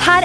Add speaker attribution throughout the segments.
Speaker 1: her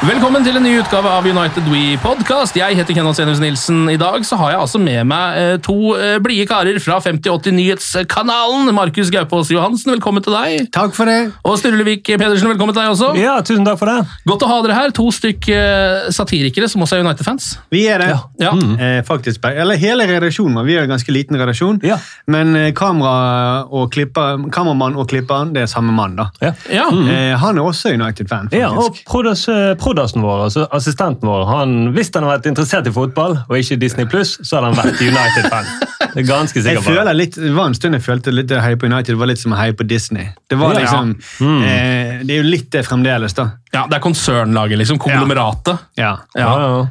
Speaker 2: Velkommen til en ny utgave av United We Podcast. Jeg heter Kenneth Senus Nilsen. I dag så har jeg altså med meg eh, to eh, blide karer fra 5080 Nyhetskanalen. Markus Gaupås Johansen, velkommen til deg.
Speaker 3: Takk for det.
Speaker 2: Og Sturlevik Pedersen, velkommen til deg også.
Speaker 4: Ja, tusen takk for det.
Speaker 2: Godt å ha dere her. To stykk eh, satirikere som også er United-fans.
Speaker 3: Vi er det.
Speaker 2: Ja.
Speaker 4: Mm.
Speaker 3: Eh, faktisk, eller hele redaksjonen. vår. Vi er en ganske liten redaksjon.
Speaker 4: Ja.
Speaker 3: Men eh, kamera og klipper, kameramann og klipperen, det er samme mann, da.
Speaker 4: Ja. Mm.
Speaker 2: Ja.
Speaker 3: Eh, han er også United-fan, faktisk.
Speaker 4: Ja, og prodas, prodasen vår, altså assistenten vår, han, hvis han har vært interessert i fotball, og ikke Disney+, så hadde han vært United-fan. Det er ganske
Speaker 3: Jeg
Speaker 4: sikker på.
Speaker 3: føler litt, Det var en stund jeg følte litt å heie på United var litt som å heie på Disney. Det var
Speaker 4: Ja. Mm.
Speaker 3: liksom, eh, det er jo litt det fremdeles, da.
Speaker 2: ja, det er konsernlaget, liksom. Konglomeratet.
Speaker 3: Ja.
Speaker 2: Ja.
Speaker 4: Ja, ja.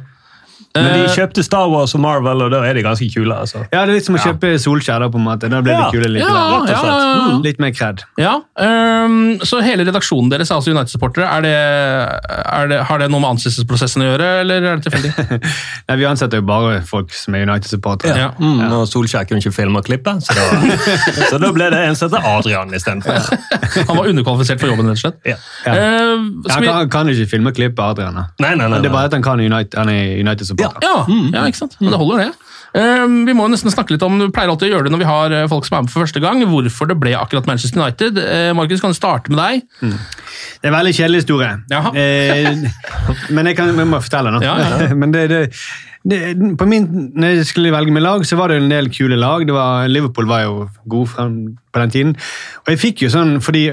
Speaker 4: Men de kjøpte Star Wars og Marvel, og da er de ganske kule, altså.
Speaker 3: Ja, Det er litt som å kjøpe Solskjær, da, på en måte. Da blir
Speaker 4: Ja.
Speaker 3: det kule
Speaker 2: Ja, ja,
Speaker 3: likevel.
Speaker 2: ja, ja.
Speaker 3: Litt mer cred.
Speaker 2: Ja, øhm, Så hele redaksjonen deres er altså United-supportere. Er det, er det, har det noe med ansettelsesprosessen å gjøre, eller er det tilfeldig?
Speaker 3: Nei, Vi ansetter jo bare folk som er United-supportere.
Speaker 2: Ja.
Speaker 4: Mm, og Solskjær kunne ikke filme og klippe, så da, så da ble det en som heter Adrian istedenfor.
Speaker 2: Han var underkvalifisert for jobben, rett og slett.
Speaker 4: Ja.
Speaker 3: Ja.
Speaker 2: Eh, skal
Speaker 3: Han
Speaker 2: vi-
Speaker 3: kan, han kan ikke filme og klippe Adrian. da.
Speaker 4: Nei, nei, nei,
Speaker 3: Det
Speaker 4: nei.
Speaker 3: er bare at han, kan United, han er United-supporter.
Speaker 2: ja, ja, ikke sant? Men det holder, det. Eh, vi må jo nesten snakke litt om, vi pleier alltid å gjøre det når vi har eh, folk som er med for første gang, hvorfor det ble akkurat Manchester United. Eh, Markus, kan du starte med deg?
Speaker 3: Det er en veldig kjedelig historie.
Speaker 2: Jaha.
Speaker 3: Eh, men jeg, kan, jeg må fortelle den. da.
Speaker 2: Ja, ja,
Speaker 3: men det, det, det, på min, når jeg skulle velge min lag, så var det en del kule lag. Det var, Liverpool var jo god frem på den tiden. Og jeg fikk jo sånn, fordi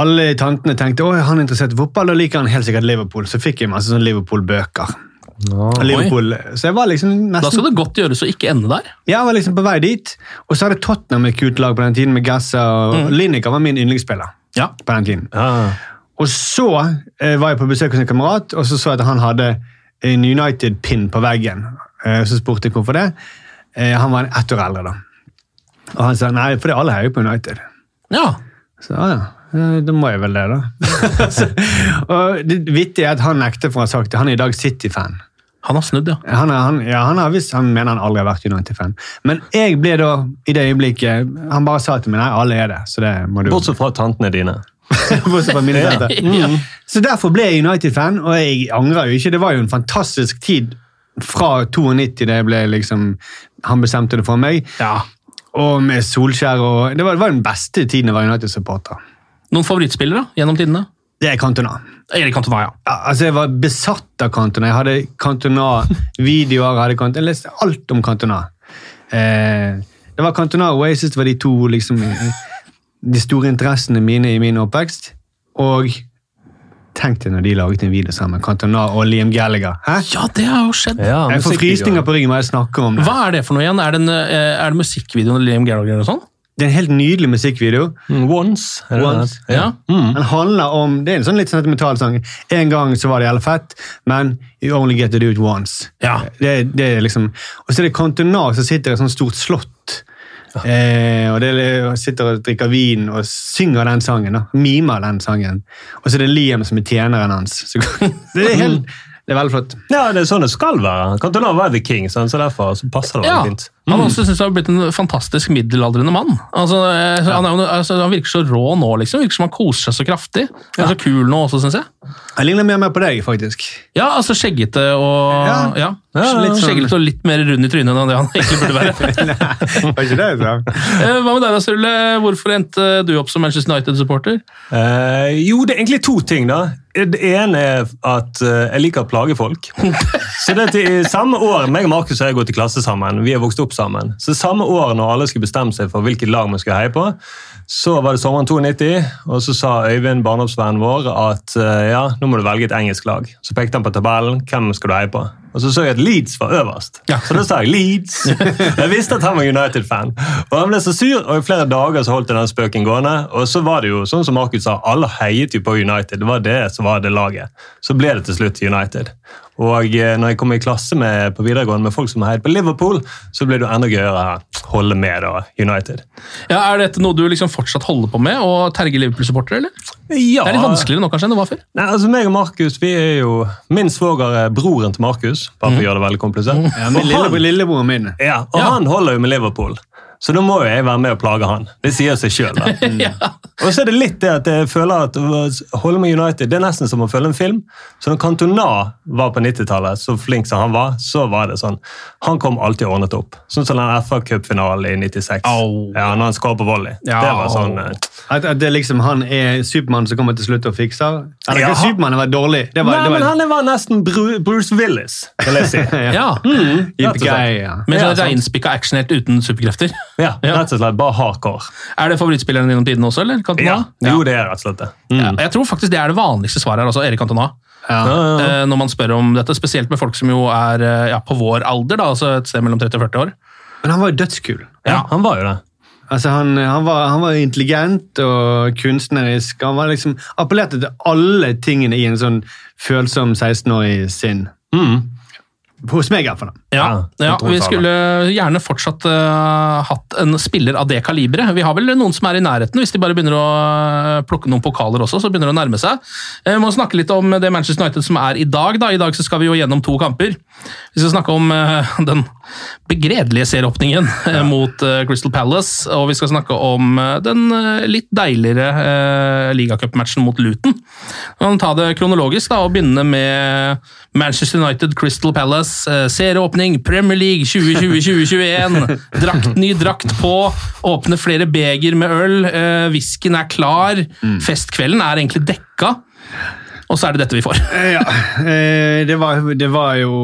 Speaker 3: alle tantene tenkte at han er interessert i fotball, da liker han helt sikkert Liverpool. Så fikk jeg masse sånn Liverpool-bøker. Og Liverpool, så jeg var liksom nesten
Speaker 2: Da skal det godt gjøres å ikke ende der.
Speaker 3: Jeg var liksom på vei dit, og så hadde Tottenham et kult lag på den tiden med Gassa og Lineker var min yndlingsspiller
Speaker 2: Ja.
Speaker 3: på den tiden.
Speaker 4: Ah.
Speaker 3: Og så eh, var jeg på besøk hos en kamerat, og så så jeg at han hadde en United-pin på veggen. Eh, så spurte jeg hvorfor det. Eh, han var ett år eldre da. Og han sa nei, fordi alle heier på United.
Speaker 2: ja.
Speaker 3: Så ja, ja. eh, Da må jeg vel det, da. så, og det vittige er at han nekter for å ha sagt det. Han er i dag City-fan.
Speaker 2: Han har snudd, ja.
Speaker 3: Han, er, han, ja, han, har visst, han mener han aldri har vært United-fan. Men jeg ble da, i det øyeblikket Han bare sa til meg nei, alle er det. Så det må du
Speaker 4: Bortsett fra tantene dine.
Speaker 3: Bortsett fra mine tante.
Speaker 2: Ja.
Speaker 3: Så derfor ble jeg United-fan, og jeg angrer jo ikke. Det var jo en fantastisk tid fra 92, det ble liksom Han bestemte det for meg.
Speaker 2: Ja.
Speaker 3: Og med Solskjær og Det var, det var den beste tiden jeg var United-supporter.
Speaker 2: Noen favorittspillere gjennom tidene?
Speaker 3: Det er Cantona.
Speaker 2: Erik Cantona, ja.
Speaker 3: Ja, altså Jeg var besatt av Cantona. Jeg hadde Cantona-videoer. hadde Cantona. Jeg leste alt om Cantona. Eh, det var Cantona og Oasis det var de to liksom, de store interessene mine i min oppvekst. Og tenk deg når de laget en video sammen. Cantona og Liam Gallagher. Hæ?
Speaker 2: Ja, det har jo skjedd.
Speaker 4: Ja,
Speaker 3: jeg får frysninger på ryggen når jeg snakker om det.
Speaker 2: Hva er det for noe igjen? Er det, en, eh, er det musikkvideoen til Liam Gallagher og sånn?
Speaker 3: Det er en helt nydelig musikkvideo.
Speaker 4: Mm, Once. er det
Speaker 3: Once.
Speaker 4: det? Ja.
Speaker 2: Mm.
Speaker 3: Den handler om, Det er en sånn litt sentimental sang. En gang så var det jævlig fett, men you only get to do it once.
Speaker 2: Ja.
Speaker 3: Det, det er liksom, og så er det Cantona som sitter i et sånt stort slott Eh, og det er- sitter og drikker vin og synger den sangen. Da. Mimer den sangen. Og så er det Liam som er tjeneren hans. Så, det, er helt, det er veldig flott.
Speaker 4: Ja, det er sånn det skal være. Cantona var the king, sant? så derfor så passer det
Speaker 2: Ja,
Speaker 4: veldig
Speaker 2: han
Speaker 4: fint. Mm.
Speaker 2: har også synes jeg har blitt en fantastisk middelaldrende mann. Altså, eh, han, er jo- altså, han virker så rå nå, liksom. Virker som han koser seg så kraftig. Han er så kul nå også, synes jeg.
Speaker 3: Jeg ligner mer og mer på deg, faktisk.
Speaker 2: Ja, altså skjeggete og
Speaker 3: Ja.
Speaker 2: ja.
Speaker 3: Ja,
Speaker 2: Litt
Speaker 3: ja.
Speaker 2: skjeggete og litt mer rund i trynet enn det han egentlig burde være.
Speaker 3: Var ikke det,
Speaker 4: altså?
Speaker 3: så?
Speaker 2: Eh, Hva med deg, da, Sturle? Hvorfor endte du opp som Manchester United-supporter?
Speaker 4: Eh, jo, det er egentlig to ting, da. Det ene er at eh, jeg liker å plage folk. Så det er til, i samme år, meg og Markus har gått i klasse sammen. Vi har vokst opp sammen. Så samme år når alle skulle bestemme seg for hvilket lag vi skulle heie på, så var det sommeren 92, og så sa Øyvind, barndomsvennen vår, at eh, ja, nå må du velge et engelsk lag. Så pekte han på tabellen. Hvem skal du heie på? Og så så jeg at Leeds var øverst.
Speaker 2: Ja.
Speaker 4: Så da sa jeg Leeds. Jeg visste at han var United-fan. Og han ble så sur, og i flere dager så holdt jeg den spøken gående. Og så var det jo, sånn som Markus sa, alle heiet jo på United. Det var det som var det laget. Så ble det til slutt United. Og eh, når jeg kom i klasse med, på videregående med folk som heiet på Liverpool, så ble det jo enda gøyere å holde med da, United.
Speaker 2: Ja, er dette noe du liksom fortsatt holder på med, og terge Liverpool-supporter, eller?
Speaker 4: Ja.
Speaker 2: Det er litt vanskeligere nå kanskje enn det var før.
Speaker 4: Nei, altså meg og Markus, vi er jo Min svoger er broren til Markus, bare
Speaker 2: Mhm.
Speaker 4: for å gjøre det veldig komplisert.
Speaker 3: Ja, men
Speaker 4: Og han-
Speaker 3: lille, lillebroren min.
Speaker 4: Ja, og han holder jo med Liverpool, så da må jo jeg være med og plage han. Det sier seg sjøl.
Speaker 2: Mm.
Speaker 4: Og så er det litt det at jeg føler at å holde med United det er nesten som å følge en film. Så når Cantona var på 90-tallet, så flink som han var, så var det sånn. Han kom alltid og ordnet opp. Sånn som den FA-cupfinalen i 96.
Speaker 2: Au.
Speaker 4: Ja, når han skåret på volley.
Speaker 2: Ja.
Speaker 4: Det var sånn eh,
Speaker 3: At, at det liksom han er Supermann som kommer til slutt og fikser. Eller
Speaker 4: Ja.
Speaker 3: ikke Supermann, det var dårlig. Det var,
Speaker 4: Nei,
Speaker 3: det
Speaker 4: men
Speaker 3: var,
Speaker 4: han var nesten Bru- Bruce Willis, vil jeg si.
Speaker 2: Ja,
Speaker 3: Yippee-ki-yay, ja.
Speaker 2: Men
Speaker 4: Mm. Ja,
Speaker 2: sånn
Speaker 4: sant.
Speaker 2: reinspikka action helt uten superkrefter.
Speaker 4: Ja,
Speaker 2: Ja.
Speaker 4: Rett og slett bare hardcore.
Speaker 2: Er det favorittspilleren din om tiden også, eller? Cantona?
Speaker 4: Ja. Jo, det er rett og slett det. Mm.
Speaker 2: Ja, Jeg tror faktisk det er det vanligste svaret her, altså Erik Cantona.
Speaker 3: Ja.
Speaker 2: Eh, Når man spør om dette, spesielt med folk som jo er eh, ja, på vår alder, da, altså et sted mellom 30 og 40 år.
Speaker 3: Men han var jo dødskul.
Speaker 4: Ja, han var jo det.
Speaker 3: Altså, han, han, var, han var intelligent og kunstnerisk. Han var liksom, appellerte til alle tingene i en sånn følsom 16-årig sinn. Hos meg, iallfall.
Speaker 2: Ja,
Speaker 4: Ja,
Speaker 2: ja,
Speaker 4: jeg tror
Speaker 2: Vi
Speaker 4: det.
Speaker 2: skulle gjerne fortsatt eh, hatt en spiller av det kaliberet. Vi har vel noen som er i nærheten, hvis de bare begynner å eh, plukke noen pokaler også. så begynner det å nærme seg. Eh, Vi må snakke litt om det Manchester United som er i dag. da. I dag så skal vi jo gjennom to kamper. Vi skal snakke om eh, den begredelige serieåpningen eh, mot eh, Crystal Palace, og vi skal snakke om eh, den eh, litt deiligere eh, ligacupmatchen mot Luton. Vi kan ta det kronologisk da, og begynne med Manchester United, Crystal Palace, eh, serieåpning, Premier League 2020-2021. Drakt, ny drakt på, åpne flere beger med øl, eh, whiskyen er klar, festkvelden er egentlig dekka, og så er det dette vi får.
Speaker 3: Ja, eh, det var, det var jo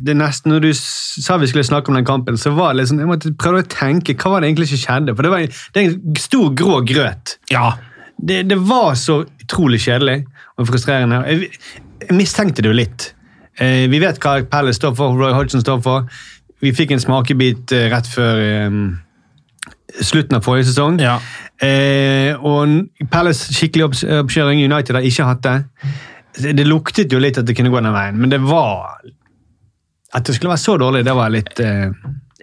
Speaker 3: det er nesten, Når du s- sa vi skulle snakke om den kampen, så var det liksom, jeg måtte prøve å tenke hva var det egentlig som skjedde. For det, var, det er en stor grå grøt.
Speaker 2: Ja,
Speaker 3: det, det var så utrolig kjedelig og frustrerende. Jeg, jeg mistenkte det jo litt. Eh, vi vet hva Palace står for, Roy Hodgson står for. Vi fikk en smakebit eh, rett før eh, slutten av forrige sesong.
Speaker 2: Ja.
Speaker 3: Eh, og n- Palace skikkelig opps- oppkjøring. United har ikke hatt det. det. Det luktet jo litt at det kunne gå den veien, men det var At det skulle være så dårlig, det var litt eh,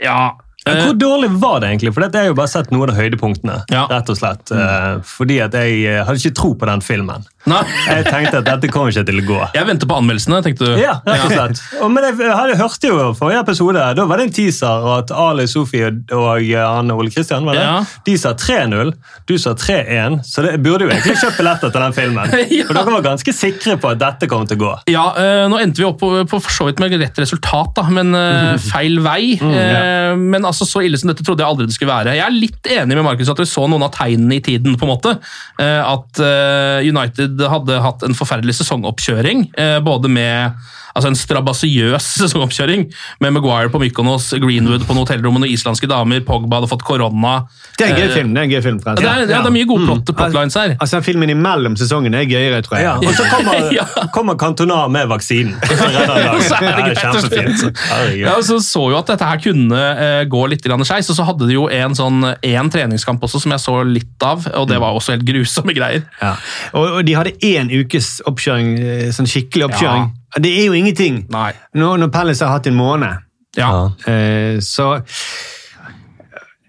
Speaker 2: ja.
Speaker 4: Men
Speaker 2: Eh,
Speaker 4: hvor dårlig var det egentlig? For dette har jeg jo bare sett noen av høydepunktene.
Speaker 2: Ja.
Speaker 4: rett og slett. Eh, Fordi at jeg eh, hadde ikke tro på den filmen.
Speaker 2: nei.
Speaker 4: Jeg tenkte at dette kommer ikke til å gå.
Speaker 2: Jeg venter på anmeldelsene, tenkte du.
Speaker 4: Ja, rett og slett. Og, men jeg, hadde, hørte jo forrige episode, da var det en teaser og at Ali Sofie og, og han Ole Kristian var det.
Speaker 2: Ja.
Speaker 4: De sa 3-0, du sa 3-1, så det jeg burde jo egentlig kjøpt billetter til den filmen.
Speaker 2: Ja.
Speaker 4: For dere var ganske sikre på at dette kom til å gå.
Speaker 2: Ja, eh, nå endte vi opp på, på for så vidt med rett resultat, da, men eh,
Speaker 3: Mhm.
Speaker 2: feil vei.
Speaker 3: Mm,
Speaker 2: Eh, men altså, så ille som dette trodde jeg aldri det skulle være. Jeg er litt enig med Markus at dere så noen av tegnene i tiden, på en måte. Eh, at eh, United hadde hatt en forferdelig sesongoppkjøring, eh, både med altså en strabasiøs sesongoppkjøring, med Maguire på Mykonos, Greenwood på noen hotellrom og noen islandske damer, Pogba hadde fått korona.
Speaker 3: Det er en gøy Mm. film. det er en gøy film, forresten.
Speaker 2: Det er, Eh, ja, det er mye gode plot, plotlines her.
Speaker 3: Altså, Filmen imellom sesongene er gøyere, tror jeg.
Speaker 4: Ja, og så kommer,
Speaker 2: Ja.
Speaker 4: kommer Cantona med vaksinen. Så redder han dagen.
Speaker 2: Så er det
Speaker 4: Ja,
Speaker 2: greit å slutte.
Speaker 4: kjempefint. Herregud.
Speaker 2: Ja, og så så jo at dette her kunne eh, gå litt grann skeis, og så hadde de jo en, sånn, en treningskamp også som jeg så litt av, og det var også helt grusomme greier.
Speaker 3: Ja. Og, og de hadde én ukes oppkjøring, eh, sånn skikkelig oppkjøring. Det er jo ingenting
Speaker 2: Nei.
Speaker 3: Nå, når Palace har hatt en måned.
Speaker 2: Ja.
Speaker 3: Eh, så eh,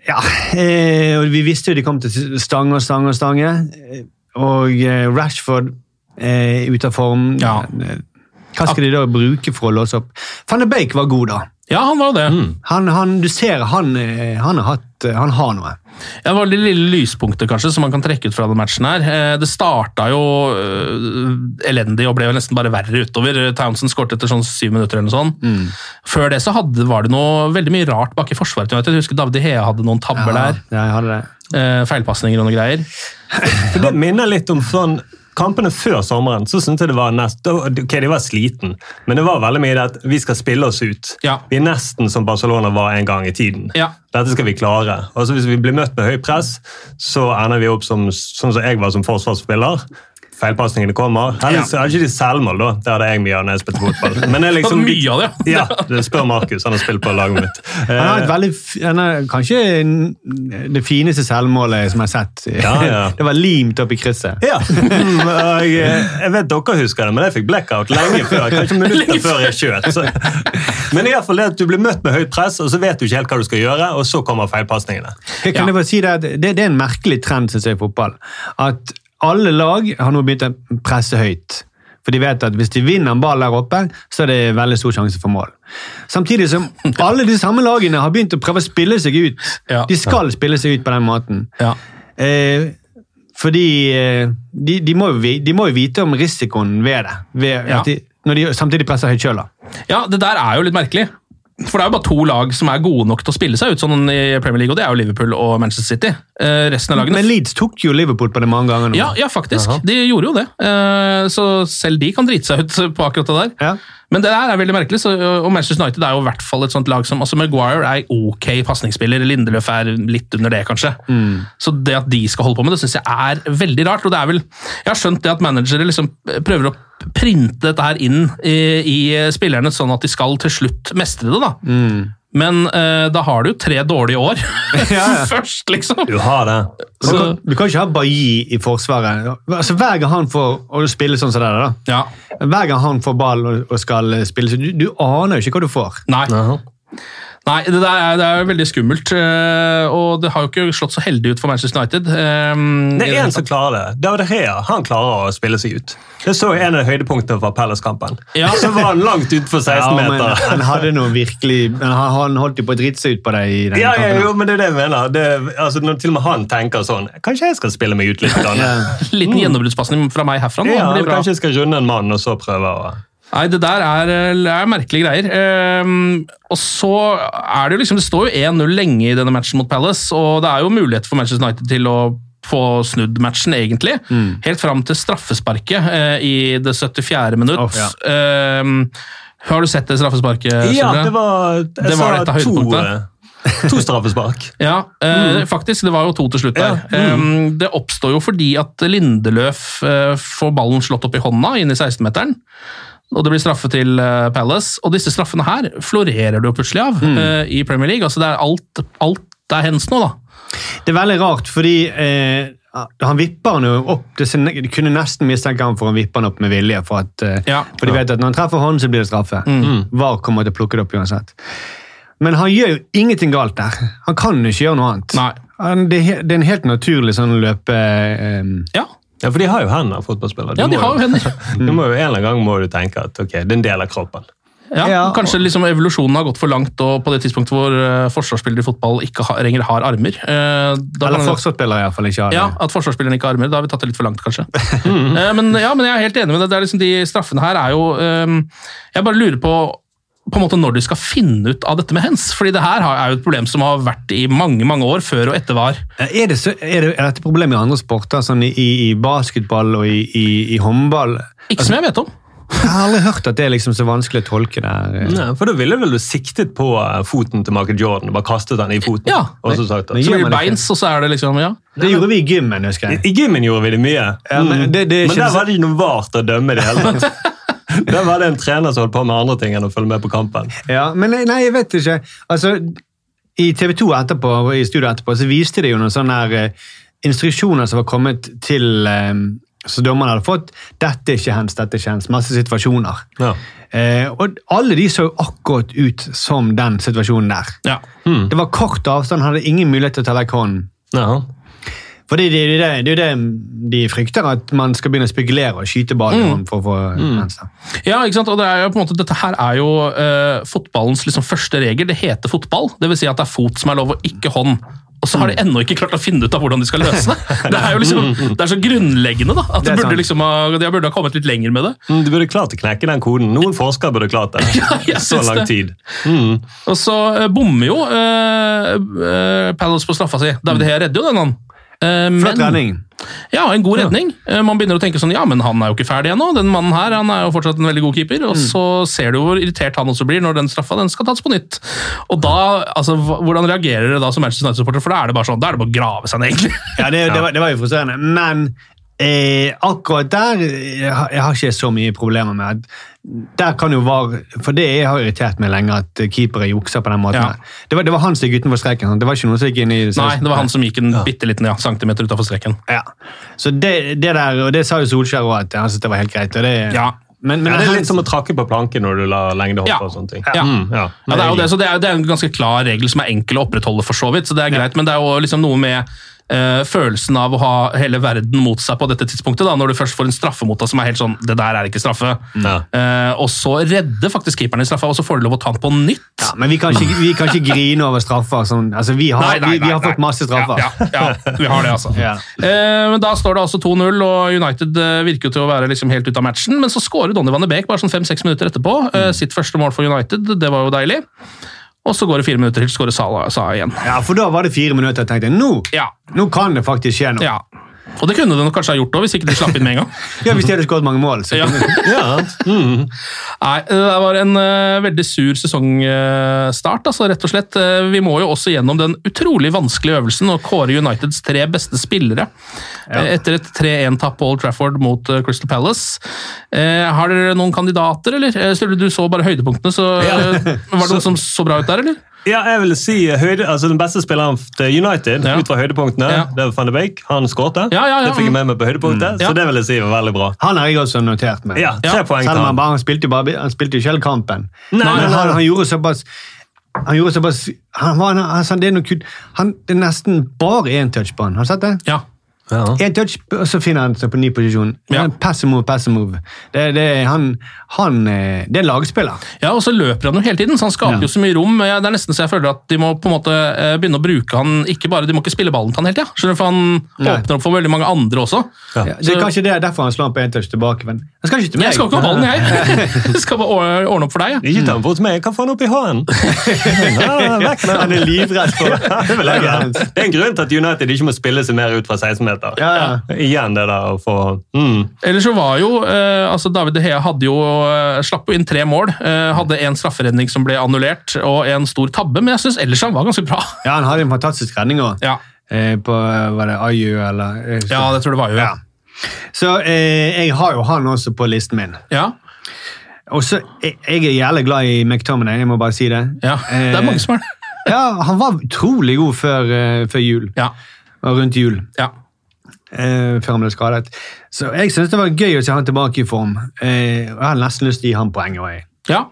Speaker 3: Ja, eh, og vi visste jo de kom til stange og stange og stange. Eh, Og eh, Rashford eh, er ute av form.
Speaker 2: Ja.
Speaker 3: Eh, Hva skal de da bruke for å låse opp? Van de Beek var god, da.
Speaker 2: Ja, han var jo det.
Speaker 3: Han, han, du ser han, eh, han, har, hatt, eh, han har noe.
Speaker 2: Ja, det var det lille lyspunktet kanskje, som man kan trekke ut fra den matchen. her. Eh, Det starta jo eh, elendig og ble jo nesten bare verre utover. Townsend skåret etter sånn syv minutter. eller noe sånt. Før det så hadde, var det noe veldig mye rart bak i forsvaret. til United. Jeg husker David Hea hadde noen tabber der.
Speaker 3: Ja, jeg hadde det.
Speaker 2: Eh, Feilpasninger og noe greier.
Speaker 4: For Det minner litt om sånn Kampene før sommeren så syntes jeg det var nest, da- ok, de var sliten, men det var veldig mye det at vi skal spille oss ut.
Speaker 2: Ja.
Speaker 4: Vi er nesten som Barcelona var en gang i tiden.
Speaker 2: Ja.
Speaker 4: Dette skal vi klare. Altså Hvis vi blir møtt med høy press, så ender vi opp som, sånn som jeg var som forsvarsspiller. Feilpasningene kommer. Heldigvis er ikke de selvmål, da. Det hadde jeg mye av når jeg spilte fotball. Men det er liksom,
Speaker 2: Mye av det, ja.
Speaker 4: ja. det Spør Markus, han har spilt på laget mitt.
Speaker 3: Han har
Speaker 4: Eh,
Speaker 3: et veldig, f- han har kanskje en- det fineste selvmålet som jeg har sett.
Speaker 4: Ja, ja.
Speaker 3: Det var limt opp i krysset.
Speaker 4: Ja. Mm, og Jeg, jeg vet dere husker det, men jeg fikk blackout lenge før. Kanskje minutter før jeg skjøt. Så. Men i hvert fall det at du blir møtt med høyt press, og så vet du ikke helt hva du skal gjøre, og så kommer feilpasningene.
Speaker 3: Jeg
Speaker 2: Ja.
Speaker 3: kan jeg bare si det, at det, det er en merkelig trend synes jeg, i fotball. At alle lag har nå begynt å presse høyt. For de vet at hvis de vinner en ball der oppe, så er det veldig stor sjanse for mål. Samtidig som alle de samme lagene har begynt å prøve å spille seg ut.
Speaker 2: Ja.
Speaker 3: De skal spille seg ut på den måten.
Speaker 2: Ja.
Speaker 3: Eh, fordi eh, de, de, må jo, vi- de må jo vite om risikoen ved det. Ved,
Speaker 2: Ja.
Speaker 3: at de, når de samtidig presser høyt sjøl, da.
Speaker 2: Ja, det der er jo litt merkelig. For det er jo bare to lag som er gode nok til å spille seg ut sånn i Premier League, og det er jo Liverpool og Manchester City. Eh, resten av lagene
Speaker 3: Men Leeds tok jo Liverpool på det mange ganger nå.
Speaker 2: ja, ja, faktisk. De gjorde jo det. Eh, Så selv de kan drite seg ut på akkurat det der.
Speaker 3: Ja.
Speaker 2: Men det der er veldig merkelig, så, og Manchester United er jo i hvert fall et sånt lag som altså Maguire er ok pasningsspiller, Lindeløf er litt under det, kanskje.
Speaker 3: Mm.
Speaker 2: Så det at de skal holde på med det, syns jeg er veldig rart. og det er vel, Jeg har skjønt det at managere liksom prøver å printe dette her inn i, i spillerne, sånn at de skal til slutt mestre det. da. Men eh, da har du jo tre dårlige år
Speaker 3: Mm. ja.
Speaker 2: først, liksom.
Speaker 4: Du har det.
Speaker 3: Du
Speaker 2: Så,
Speaker 3: kan, du kan ikke ha Bailly i forsvaret. Altså, hver gang han får å spille sånn som det der, da.
Speaker 2: ja.
Speaker 3: Hver gang han får ball og, og skal eh, spille, så du, du aner jo ikke hva du får.
Speaker 2: Nei. Nei, det der er, det er veldig skummelt, eh, og det har jo ikke slått så heldig ut for Manchester United. Eh,
Speaker 4: Det er én som klarer det. David Rea han klarer å spille seg ut. Det så jeg en av høydepunktene fra Palace-kampen.
Speaker 2: Ja.
Speaker 4: Så var han langt utenfor 16
Speaker 3: men han
Speaker 4: meter.
Speaker 3: hadde noe virkelig men han, han holdt jo på å drite seg ut på deg i den
Speaker 4: Ja, ja,
Speaker 3: kampen.
Speaker 4: jo, men det er det jeg mener. Det, altså, når til og med han tenker sånn Kanskje jeg skal spille meg ut litt? Grann.
Speaker 2: Liten gjennombruddspasning fra meg herfra. nå,
Speaker 4: Mm. Ja,
Speaker 2: det blir bra.
Speaker 4: kanskje jeg skal runde en mann, og så prøve å
Speaker 2: Nei, det der er, eh, er merkelige greier. Ehm, og så er det jo liksom Det står jo 1-0 lenge i denne matchen mot Palace, og det er jo mulighet for Manchester United til å få snudd matchen, egentlig.
Speaker 4: Mm.
Speaker 2: Helt fram til straffesparket eh, i det 74. minutt.
Speaker 3: Uff, ja.
Speaker 2: Ehm, har du sett det straffesparket?
Speaker 4: Ja,
Speaker 2: Sindre?
Speaker 4: det var, jeg
Speaker 2: Eh, Det var
Speaker 4: sa
Speaker 2: et av
Speaker 4: to,
Speaker 2: høydepunktene.
Speaker 4: eh, to straffespark.
Speaker 2: Ja, eh, faktisk. Det var jo to til slutt der. Eh, det oppstår jo fordi at Lindeløf eh, får ballen slått opp i hånda inn i 16-meteren. Og det blir straffe til eh, Palace. Og disse straffene her florerer det jo plutselig av eh, i Premier League. Altså det er alt, alt er hens nå, da.
Speaker 3: Det er veldig rart, fordi eh, han vipper han jo opp. Det ser, ne- du kunne nesten mistenke ham for å vippe han opp med vilje. For, at, eh,
Speaker 2: Ja. Mm.
Speaker 3: for de vet at når han treffer hånden, så blir det straffe. VAR kommer til å plukke det opp uansett. Men han gjør jo ingenting galt der. Han kan jo ikke gjøre noe annet.
Speaker 2: Nei.
Speaker 3: Han, det, er he- det er en helt naturlig sånn løpe... ehm,
Speaker 2: Ja,
Speaker 4: Ja, for de har jo hender, fotballspillere.
Speaker 2: ja
Speaker 4: Du
Speaker 2: de
Speaker 4: må
Speaker 2: har jo hender.
Speaker 4: Du må jo en eller annen gang må du tenke at ok, det er en del av kroppen.
Speaker 2: Ja,
Speaker 3: Ja,
Speaker 2: kanskje liksom evolusjonen har gått for langt, og på det tidspunktet hvor eh, forsvarsspillere i fotball ikke har, lenger har armer eh, da kan
Speaker 3: eller
Speaker 2: det-
Speaker 3: forsvarsspillere i hvert fall ikke har det.
Speaker 2: Ja, At forsvarsspilleren ikke har armer. Da har vi tatt det litt for langt, kanskje. Eh, men, ja, men jeg er helt enig med deg. Det er liksom, de straffene her er jo ehm, Jeg bare lurer på på en måte når de skal finne ut av dette med hens. Fordi det her har- er jo et problem som har vært i mange mange år før og etter var.
Speaker 3: Eh, Er, det så, er, det, er dette problemet i andre sporter, sånn i, i, i basketball og i, i, i håndball?
Speaker 2: Ikke som jeg vet om.
Speaker 3: Jeg har aldri hørt at det er liksom så vanskelig å tolke der. eh.
Speaker 4: Nei, for da ville vel du siktet på eh, foten til Michael Jordan og bare kastet den i foten?
Speaker 2: Ja.
Speaker 4: Og så sagt
Speaker 3: Men
Speaker 4: at.
Speaker 2: Så
Speaker 3: gjør
Speaker 2: blir
Speaker 3: man
Speaker 2: det
Speaker 3: det ikke.
Speaker 2: beins, og så er det liksom Ja.
Speaker 3: Det gjorde vi i gymmen, husker jeg.
Speaker 4: I gymmen gjorde vi det mye,
Speaker 3: Ja, men
Speaker 4: Mm.
Speaker 3: det- det er
Speaker 4: men
Speaker 3: ikke
Speaker 4: der
Speaker 3: det-
Speaker 4: var det ikke noe vart å dømme i det hele tatt. Der var det en trener som holdt på med andre ting enn å følge med på kampen.
Speaker 3: Ja, men nei, nei, jeg vet ikke. Altså, I TV 2 etterpå, og i studio etterpå så viste de jo noen sånne her, eh, instruksjoner som var kommet til eh, Så dommerne hadde fått 'dette er ikke hands, dette er ikke hands'. Masse situasjoner.
Speaker 4: Ja.
Speaker 3: Eh, og alle de så jo akkurat ut som den situasjonen der.
Speaker 2: Ja.
Speaker 3: Det var kort avstand, hadde ingen mulighet til å ta vekk hånden.
Speaker 4: Ja.
Speaker 3: For det er jo det, det, er jo det de frykter, at man skal begynne å spekulere og skyte ballen i hånden for å få hands. da.
Speaker 2: Ja, ikke sant? Og det er jo på en måte, dette her er jo eh, fotballens liksom, første regel. Det heter fotball. Det vil si at det er fot som er lov, og ikke hånd. Og så har de
Speaker 3: Mm.
Speaker 2: ennå ikke klart å finne ut av hvordan de skal løse det. Det er jo liksom, det er så grunnleggende, da. At
Speaker 3: Det
Speaker 2: de
Speaker 3: er sant.
Speaker 2: burde, liksom, ha- de burde ha kommet litt lenger med det.
Speaker 4: Mm, Du burde klart å knekke den koden. Noen forskere burde klart det.
Speaker 2: jeg
Speaker 4: Så
Speaker 2: syns
Speaker 4: lang
Speaker 2: det.
Speaker 4: tid.
Speaker 2: Og så eh, bommer jo eh, eh, Palace på straffa si. David Hea redder jo den, han. Eh,
Speaker 3: Mm. Flott redning.
Speaker 2: Ja, en god redning. Eh, Man begynner å tenke sånn, ja, men han er jo ikke ferdig ennå. Den mannen her han er jo fortsatt en veldig god keeper. Og så ser du hvor irritert han også blir når den straffa den skal tas på nytt. Og da, altså, hva- Hvordan reagerer dere da som Manchester United-supporter? For da er det bare sånn, da er det bare å grave seg ned, egentlig.
Speaker 3: Ja, det, det, var, det var jo frustrerende. Men eh, akkurat der eh, jeg har jeg har ikke så mye problemer med. at Der kan jo VAR For det jeg har irritert meg lenge, at keepere jukser på den måten.
Speaker 2: Ja.
Speaker 3: her. Det, var, det var han som gikk utenfor streken. sant? Det var ikke noen som gikk inn i
Speaker 2: Nei, det var han som gikk en bitte liten ja, centimeter utafor streken.
Speaker 3: Ja. Så det, det der, og det sa jo Solskjær òg, at han syntes det var helt greit. Og det,
Speaker 2: Ja.
Speaker 3: Men, men
Speaker 4: Ja, det er
Speaker 3: han-
Speaker 4: litt som å trakke på planken når du lar lengde hoppe
Speaker 2: Ja.
Speaker 4: og sånne ting.
Speaker 2: Ja.
Speaker 4: Mm, ja.
Speaker 2: Ja, det er jo det, så det er, det er en ganske klar regel som er enkel å opprettholde, for så vidt. så det er greit, Men det er jo liksom noe med eh, følelsen av å ha hele verden mot seg på dette tidspunktet. da, Når du først får en straffe mot deg som er helt sånn Det der er ikke straffe.
Speaker 4: Ja.
Speaker 2: Eh, og så redder faktisk keeperen i straffa, og så får du lov å ta den på nytt.
Speaker 3: ja, men vi kan, ikke, vi kan ikke grine over straffer. Sånn. Altså, vi, har, vi, vi har fått masse straffer.
Speaker 2: Ja, ja, ja, vi har det, altså.
Speaker 3: Ja.
Speaker 2: Eh, men Da står det altså 2-0, og United eh, virker jo til å være liksom helt ute av matchen. Men så skårer Donny van de Beek bare sånn fem-seks minutter etterpå.
Speaker 3: Mm.
Speaker 2: eh, Sitt første mål for United, det var jo deilig. Og så går det fire minutter til, skårer Salah Salah igjen.
Speaker 3: Ja, For da var det fire minutter jeg tenkte nå,
Speaker 2: Ja.
Speaker 3: nå kan det faktisk skje noe.
Speaker 2: ja. Og det kunne de nok kanskje ha gjort òg, hvis ikke de slapp inn med en gang.
Speaker 3: Ja, Hvis de hadde skåret mange mål. Så
Speaker 2: Ja.
Speaker 4: Ja. Mm.
Speaker 2: Nei, det var en eh, veldig sur sesongstart, altså, rett og slett. Eh, vi må jo også gjennom den utrolig vanskelige øvelsen å kåre Uniteds tre beste spillere. Eh, etter et 3-1-tap på Old Trafford mot eh, Crystal Palace. Eh, har dere noen kandidater, eller? Eh, Sturle, du så bare høydepunktene, så eh, var det noen som så bra ut der, eller?
Speaker 4: ja, jeg vil si eh, høyde, altså Den beste spilleren til United
Speaker 2: Ja.
Speaker 4: ut fra høydepunktene,
Speaker 2: Ja.
Speaker 4: det var van de Beek. Han skåret.
Speaker 2: Ja, ja, ja,
Speaker 4: Det fikk jeg med meg på høydepunktet,
Speaker 2: Ja.
Speaker 4: så det vil jeg si var veldig bra.
Speaker 3: Han har jeg også notert med.
Speaker 4: Ja, tre
Speaker 2: Ja,
Speaker 4: poeng
Speaker 3: Selv
Speaker 4: til
Speaker 3: om han,
Speaker 4: han.
Speaker 3: bare, han, spilte jo bare, han spilte jo ikke hele kampen.
Speaker 4: Nei,
Speaker 3: Men
Speaker 4: nei, nei.
Speaker 3: Han, han gjorde såpass han gjorde såpass han var, han, altså, det, er noe kult. han, det er nesten bare én touch på han. Har du sett det?
Speaker 2: Ja.
Speaker 4: Ja.
Speaker 3: Én touch, og så finner han seg på ny posisjon.
Speaker 2: Ja.
Speaker 3: Ja. Pass and move, pass and move. Det, det, han, han, eh, det er lagspiller.
Speaker 2: Ja, og så løper han jo hele tiden, så han skaper
Speaker 3: Ja.
Speaker 2: jo så mye rom. Ja, Det er nesten så jeg føler at de må på en måte eh, begynne å bruke han, ikke bare, de må ikke spille ballen til han hele tida. Skjønner du, for han
Speaker 3: Nei.
Speaker 2: åpner opp for veldig mange andre også.
Speaker 3: Ja. Det er kanskje det er derfor han slår han på én touch tilbake. Men han skal ikke til meg.
Speaker 2: Jeg skal ikke ha ballen, jeg. Jeg skal bare or- ordne opp for deg. jeg.
Speaker 4: Ikke ta den bort til meg. Jeg kan få den opp i hånden. Ja, vekk med
Speaker 3: Han
Speaker 4: den.
Speaker 3: er livredd for
Speaker 4: Ja, det vil jeg gjøre. Det er en grunn til at United ikke må spille seg mer ut fra 16-meter.
Speaker 3: Ja, ja.
Speaker 4: Igjen det der å få mm.
Speaker 2: Ellers så var jo eh, altså David De Hea hadde jo, eh, slapp jo inn tre mål. Eh, hadde en strafferedning som ble annullert, og en stor tabbe, men jeg syns ellers han var ganske bra.
Speaker 3: Ja, han hadde en fantastisk redning òg.
Speaker 2: Ja.
Speaker 3: Eh, på var det Ayu eller eh,
Speaker 2: Ja, det tror jeg det var jo. Ja.
Speaker 3: Så eh, jeg har jo han også på listen min.
Speaker 2: Ja.
Speaker 3: Og så, jeg, jeg er jævlig glad i McTominay, jeg må bare si det.
Speaker 2: Det
Speaker 3: Eh,
Speaker 2: er mange som er det.
Speaker 3: Ja, han var utrolig god før, eh, før jul.
Speaker 2: Ja.
Speaker 3: Og rundt jul.
Speaker 2: ja.
Speaker 3: Eh, før han ble skadet. Så jeg syns det var gøy å se han tilbake i form. Eh, og jeg har nesten lyst til å gi han poeng. også, jeg.
Speaker 2: Ja.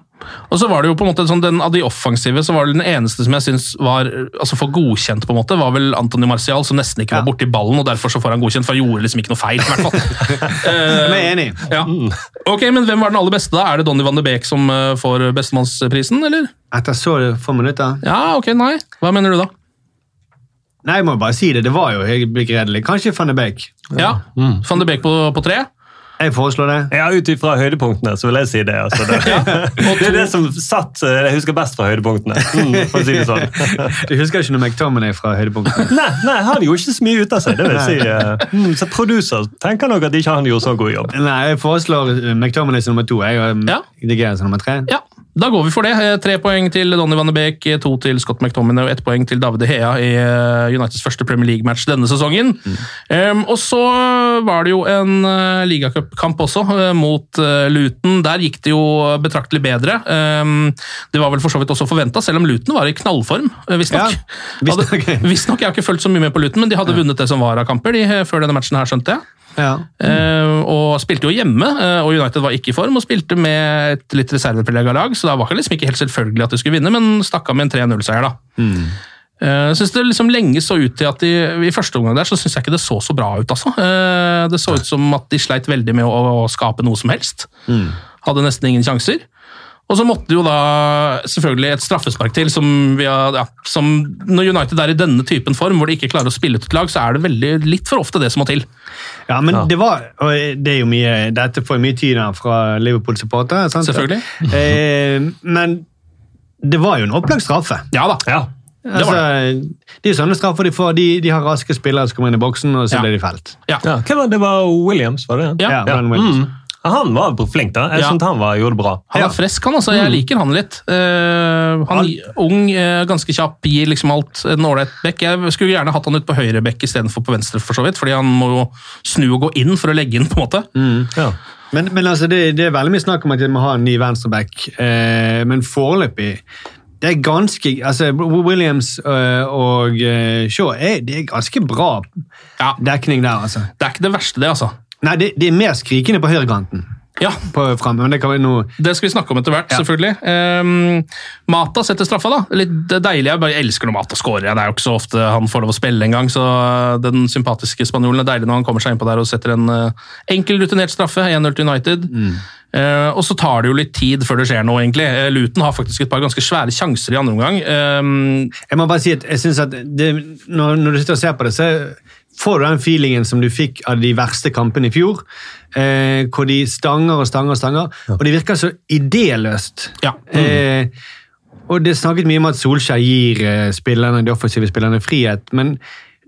Speaker 2: Og så var det jo på en måte sånn, den, Av de offensive så var det den eneste som jeg syns var altså for godkjent, på en måte, var vel Antony Martial, som nesten ikke
Speaker 3: Ja.
Speaker 2: var borti ballen, og derfor så får han godkjent, for han gjorde liksom ikke noe feil. i hvert fall. Eh,
Speaker 3: Men jeg er enig.
Speaker 2: Ja. Ok, men Hvem var den aller beste, da? Er det Donny van de Beek som eh, får bestemannsprisen, eller?
Speaker 3: Etter så få minutter
Speaker 2: Ja, ok, nei. Hva mener du da?
Speaker 3: Nei, jeg må bare si det. Det var jo helt begredelig. Kanskje van de Beek.
Speaker 2: Ja, Van de Beek på, på tre?
Speaker 3: Jeg foreslår det.
Speaker 4: Ja, ut ifra høydepunktene, så vil jeg si det. Altså, det. det er det som satt eh, jeg husker best fra høydepunktene. Mm, for å si det sånn.
Speaker 3: Du husker ikke noe McTominay fra høydepunktet?
Speaker 4: Nei, nei, han gjorde ikke så mye ut av seg. det vil jeg si. eh, Mm, så producer tenker nok at ikke han gjorde så god jobb.
Speaker 3: Nei, jeg foreslår eh, McTominay som nummer to. Jeg og
Speaker 2: Ja.
Speaker 3: De Gea som nummer tre.
Speaker 2: Ja, da går vi for det. Eh, Tre poeng til Donny van de Beek, eh, to til Scott McTominay og ett poeng til David De Hea i eh, Uniteds første Premier League-match denne sesongen. Em, og så var det jo en eh, ligacupkamp også, eh, mot eh, Luton. Der gikk det jo betraktelig bedre. Em, det var vel for så vidt også forventa, selv om Luton var i knallform, eh, visstnok.
Speaker 3: Ja, visstnok.
Speaker 2: Hadde- Visstnok, jeg har ikke fulgt så mye med på Luton, men de hadde vunnet det som var av kamper de, eh, før denne matchen her, skjønte jeg.
Speaker 3: Ja.
Speaker 2: Eh, og spilte jo hjemme, eh, og United var ikke i form, og spilte med et litt reservepreget lag, så da var det liksom ikke helt selvfølgelig at de skulle vinne, men stakk av med en 3-0-seier, da. Eh, Jeg synes det liksom lenge så ut til at de, I første omgang der så syns jeg ikke det så så bra ut. altså. Eh, Det så ut som at de sleit veldig med å, å skape noe som helst. Hadde nesten ingen sjanser. Og så måtte jo da selvfølgelig et straffespark til. som, vi har, ja, som Når United er i denne typen form, hvor de ikke klarer å spille ut et lag, så er det veldig, litt for ofte det som må til.
Speaker 3: Ja, men
Speaker 4: Ja.
Speaker 3: det var og det er jo mye, Dette får jo mye tid her fra Liverpool-supportere. sant?
Speaker 2: Selvfølgelig.
Speaker 3: Eh, men det var jo en opplagt straffe.
Speaker 2: Ja da.
Speaker 4: Ja.
Speaker 2: Det var
Speaker 3: Altså, det er jo sånne straffer de får. De, de har raske spillere som kommer inn i boksen, og
Speaker 2: Ja.
Speaker 3: så blir de felt.
Speaker 2: Ja.
Speaker 4: ja. Hvem var det? det var Williams, var det?
Speaker 2: Ja.
Speaker 3: Ja, Brandon Williams.
Speaker 4: Mm. Ja, Han var flink, da. Jeg
Speaker 2: Ja.
Speaker 4: syntes han var, gjorde det bra.
Speaker 2: Han er frisk, han. altså. Jeg liker han litt. Eh, han Ung, eh, ganske kjapp, gir liksom alt. En ålreit bekk. Jeg skulle gjerne hatt han ut på høyre bekk istedenfor på venstre, for så vidt, fordi han må jo snu og gå inn for å legge inn, på en måte.
Speaker 4: Ja.
Speaker 3: Men, men altså, det, det er veldig mye snakk om at vi må ha en ny venstreback, eh, men foreløpig det er ganske, altså Williams eh, og eh, Shaw er, det er ganske bra
Speaker 2: Ja,
Speaker 3: dekning der. altså.
Speaker 2: Det er ikke det verste, det, altså.
Speaker 3: Nei, det, det er mer skrikende på høyrekanten.
Speaker 2: Ja,
Speaker 3: På, frem, men det kan vi nå...
Speaker 2: Det skal vi snakke om etter hvert, selvfølgelig. Ehm, Mata setter straffa, da. Litt deilig. Jeg bare elsker når Mata scorer. Det er jo ikke så ofte han får lov å spille engang, så eh, den sympatiske spanjolen er deilig når han kommer seg innpå der og setter en eh, enkel, rutinert straffe. 1-0 til United.
Speaker 3: Mm.
Speaker 2: Eh, og så tar det jo litt tid før det skjer noe, egentlig. Eh, Luton har faktisk et par ganske svære sjanser i andre omgang. Ehm,
Speaker 3: Jeg må bare si at jeg synes at det, når, når du sitter og ser på det, så får du den feelingen som du fikk av de verste kampene i fjor, eh, hvor de stanger og stanger og stanger, og det virker så idéløst.
Speaker 2: Ja. Mm.
Speaker 3: Eh, og det er snakket mye om at Solskjær gir eh, spillerne, de offensive spillerne frihet, men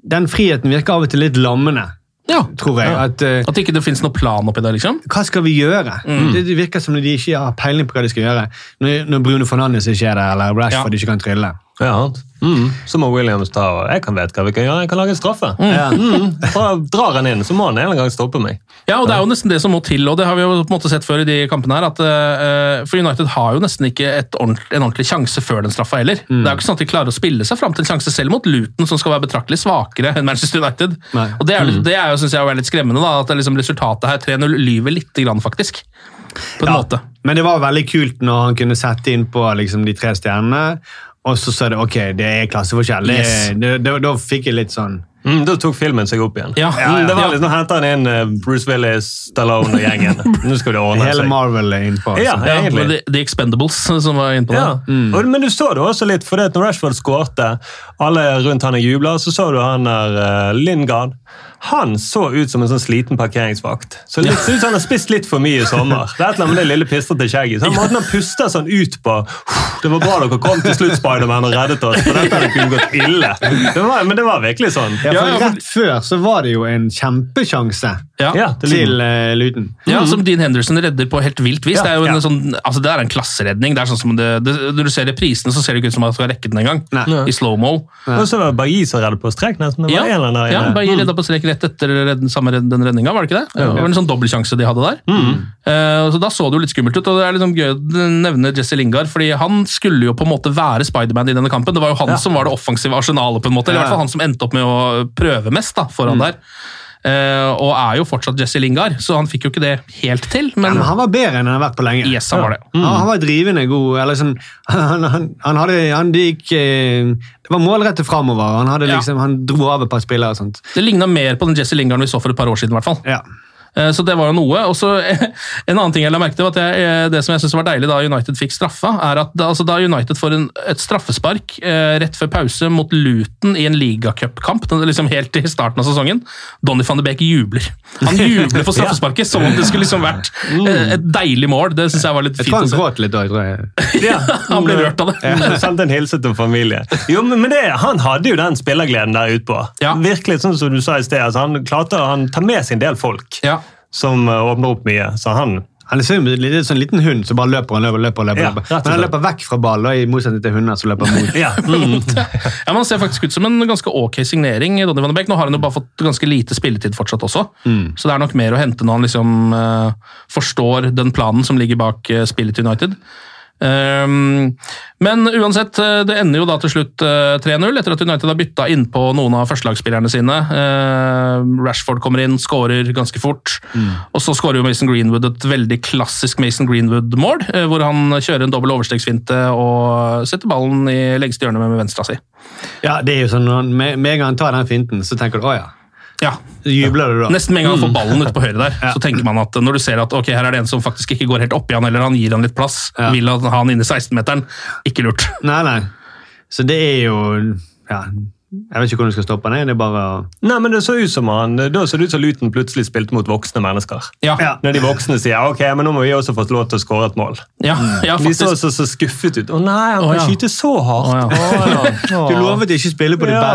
Speaker 3: den friheten virker av og til litt lammende,
Speaker 2: ja.
Speaker 3: tror jeg. At, eh,
Speaker 2: At det ikke det finnes noe plan oppi der, liksom.
Speaker 3: hva skal vi gjøre?
Speaker 2: Mm.
Speaker 3: Det, det virker som om de ikke har peiling på hva de skal gjøre, når, når Bruno Fernandes ikke er der, eller Rashford
Speaker 2: Ja.
Speaker 3: ikke kan trylle.
Speaker 4: Ja, mm. Så må Williams ta og Jeg kan vet hva vi kan gjøre, jeg kan lage en straffe.
Speaker 3: Ja.
Speaker 4: Mm. Dra- Drar han inn, så må han en eller annen gang stoppe meg.
Speaker 2: Ja, og det er jo nesten det som må til, og det har vi jo på en måte sett før i de kampene her, at eh, for United har jo nesten ikke et ordent, en ordentlig sjanse før den straffa heller. Det er jo ikke sånn at de klarer å spille seg fram til en sjanse selv mot Luton, som skal være betraktelig svakere enn Manchester United.
Speaker 3: Nei.
Speaker 2: Og det er, jo- det er jo, synes jeg, å være litt skremmende, da, at det liksom resultatet her 3-0 lyver lite grann, faktisk. På en måte.
Speaker 3: Men det var veldig kult når han kunne sette inn på liksom, de tre stjernene, og så sa det ok, det er klasseforskjell. Det,
Speaker 2: Yes.
Speaker 3: det, da, da fikk jeg litt sånn
Speaker 4: Mm, da tok filmen seg opp igjen.
Speaker 2: Ja.
Speaker 4: Mm, det
Speaker 2: Ja,
Speaker 4: var
Speaker 2: ja.
Speaker 4: litt, Nå henter han inn eh, Bruce Willis, Stallone og gjengen. Nå skal det ordne
Speaker 3: Hele
Speaker 4: seg.
Speaker 3: Marvel er innpå.
Speaker 4: Ja,
Speaker 3: altså.
Speaker 2: Ja,
Speaker 4: egentlig.
Speaker 2: men de, de Expendables som var inne på det.
Speaker 4: Ja.
Speaker 3: Mm.
Speaker 4: Og, men du så det også litt, for det at når Rashford skårte, alle rundt han jubla, så så du han der eh, Lingard. Han så ut som en sånn sliten parkeringsvakt. Så litt, ser ut som han har spist litt for mye i sommer. Det er et eller annet med det lille pistrete skjegget. Så han måten han puster sånn ut på Det var bra dere kom til slutt, Spiderman, og reddet oss, for dette hadde kunnet gått ille. Det var, men det var virkelig sånn.
Speaker 3: Ja, for
Speaker 2: Ja, ja, men-
Speaker 3: Rett før så var det jo en kjempesjanse
Speaker 2: Ja.
Speaker 4: Ja, det ligner.
Speaker 3: til eh, Luton.
Speaker 2: Ja, som Dean Henderson redder på helt vilt vis.
Speaker 4: Mhm. Ja,
Speaker 2: det er jo en
Speaker 4: ja.
Speaker 2: sånn, altså det er en klasseredning. Det er sånn som det, det, når du ser reprisene, så ser det ikke ut som at du har rekket den engang.
Speaker 3: Nei.
Speaker 2: I slow-mo.
Speaker 4: Og så var det Bailly som reddet på strek, nesten. Det
Speaker 2: Ja,
Speaker 4: var en eller annen der
Speaker 2: ja
Speaker 4: inne. Mm.
Speaker 2: Bailly redda på strek rett etter redden, samme redden, den redninga, var det ikke det? Det var en sånn dobbeltsjanse de hadde der.
Speaker 4: Mm.
Speaker 2: Eh, så Da så det jo litt skummelt ut, og det er liksom gøy å nevne Jesse Lingard, fordi han skulle jo på en måte være Spiderman i denne kampen. Det var jo han som var det offensive arsenalet, på en måte. Eller i hvert fall han som endte opp med å prøve mest da,
Speaker 4: Mm.
Speaker 2: foran der. Eh, og er jo fortsatt Jesse Lingard, så han fikk jo ikke det helt til,
Speaker 3: Ja,
Speaker 2: men
Speaker 3: men han var bedre enn han har vært på lenge.
Speaker 2: yes, han var det. Mm.
Speaker 3: Han, han var drivende god. Eller sånn, han, han, han hadde han det gikk eh, Det var målrettet framover. Han, hadde
Speaker 2: Ja.
Speaker 3: liksom, han dro av et par spillere og sånt.
Speaker 2: Det ligna mer på den Jesse Lingard vi så for et par år siden, i hvert fall.
Speaker 3: Ja.
Speaker 2: Eh, Så det var jo noe. Og så eh, En annen ting jeg la merke til, var at jeg, eh, det som jeg synes var deilig da United fikk straffa, er at da, altså, da United får en, et straffespark eh, rett før pause mot Luton i en ligacupkamp, den- liksom helt i starten av sesongen, Donny van de Beek jubler. Han jubler for straffesparket som om det skulle liksom vært eh, et deilig mål. Det synes jeg var litt
Speaker 3: Jeg tror
Speaker 2: fint å
Speaker 3: han
Speaker 2: se.
Speaker 3: gråt litt da. jeg tror jeg.
Speaker 4: Ja.
Speaker 2: Han ble rørt av det.
Speaker 4: Ja, Sendte en hilsen til familien. Jo, men men det, Han hadde jo den spillergleden der ute på.
Speaker 2: Ja.
Speaker 4: Virkelig, sånn som du sa i sted, altså, Han klarte han tar med sin del folk
Speaker 2: Ja.
Speaker 4: som eh, åpner opp mye. Så han
Speaker 3: Han ser jo ut som en sånn liten hund som bare løper og løper. og løper, og
Speaker 4: Ja,
Speaker 3: løper, og
Speaker 4: rett
Speaker 3: løper.
Speaker 4: og
Speaker 3: Men han
Speaker 4: slett.
Speaker 3: løper vekk fra ballen, og i motsetning til hunder som løper mot.
Speaker 4: ja, mm.
Speaker 2: Ja, men Han ser faktisk ut som en ganske ok signering. Donny van de Beek. Nå har han jo bare fått ganske lite spilletid fortsatt også, så det er nok mer å hente når han liksom eh, forstår den planen som ligger bak eh, spillet til United. Ehm, men uansett, eh, det ender jo da til slutt eh, 3-0, etter at United har bytta innpå noen av førstelagsspillerne sine. Ehm, Rashford kommer inn, skårer ganske fort. Og så skårer jo Mason Greenwood et veldig klassisk Mason Greenwood-mål, eh, hvor han kjører en dobbel overstegsfinte og setter ballen i lengste hjørne med venstra si.
Speaker 3: Ja, det er jo sånn, når han- Med med en gang han tar den finten, så tenker du å ja.
Speaker 2: Ja,
Speaker 3: Så jubler du da.
Speaker 2: Nesten med en gang han får ballen ute på høyre der, så tenker man at når du ser at ok, her er det en som faktisk ikke går helt oppi han, eller han gir han litt plass,
Speaker 3: Ja.
Speaker 2: vil han ha han inne i 16-meteren, ikke lurt.
Speaker 3: Nei, nei. Så det er jo ja, Jeg vet ikke hvordan du skal stoppe den. Det er bare å
Speaker 4: Nei, men det så ut som han, Da så det ut som Luton plutselig spilte mot voksne mennesker.
Speaker 2: Ja, ja,
Speaker 3: Ja.
Speaker 4: Når de voksne sier ok, men nå må vi også få lov til å skåre et mål.
Speaker 2: ja,
Speaker 4: De så
Speaker 2: faktisk.
Speaker 4: så, så skuffet ut. Å nei, han kan
Speaker 2: Å, ja.
Speaker 4: skyte så hardt!
Speaker 2: Å, ja.
Speaker 3: Du lovet ikke å spille på det
Speaker 4: Ja.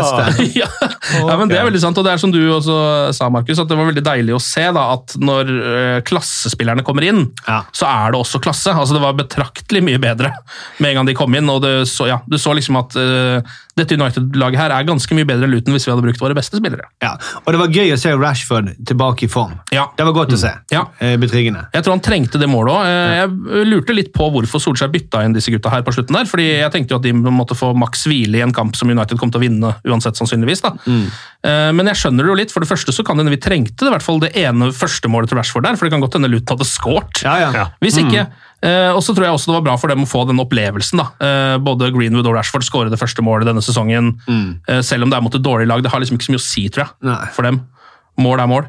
Speaker 3: beste.
Speaker 2: Ja. ja, men Det er veldig sant, og det er som du også sa, Markus, at det var veldig deilig å se da, at når eh, klassespillerne kommer inn,
Speaker 3: Ja.
Speaker 2: så er det også klasse. Altså Det var betraktelig mye bedre med en gang de kom inn. og det så, ja, Du så liksom at eh, dette United-laget her er ganske mye bedre enn Luton hvis vi hadde brukt våre beste spillere.
Speaker 3: Ja. Og det var gøy å se Rashford tilbake i form.
Speaker 2: Ja.
Speaker 3: Det var godt
Speaker 4: Mm.
Speaker 3: å se.
Speaker 2: Ja.
Speaker 3: Eh, Betryggende.
Speaker 2: Jeg tror han trengte det målet òg. Jeg lurte litt på hvorfor Solskjær bytta inn disse gutta her på slutten. der, fordi jeg tenkte jo at de måtte få maks hvile i en kamp som United kom til å vinne uansett, sannsynligvis. da.
Speaker 4: Mm.
Speaker 2: Eh, Men jeg skjønner det jo litt. For det første så kan det hende vi trengte det, i hvert fall det ene første målet til Rashford der, for det kan godt hende Luton hadde scoret.
Speaker 3: Ja, ja.
Speaker 4: Ja. Mm.
Speaker 2: Hvis ikke. eh, og så tror jeg også det var bra for dem å få den opplevelsen. da. Eh, både Greenwood og Rashford skårer det første målet denne sesongen.
Speaker 4: Mm.
Speaker 2: eh, selv om det er mot et dårlig lag. Det har liksom ikke så mye å si, tror jeg,
Speaker 3: Nei.
Speaker 2: for dem. Mål er mål.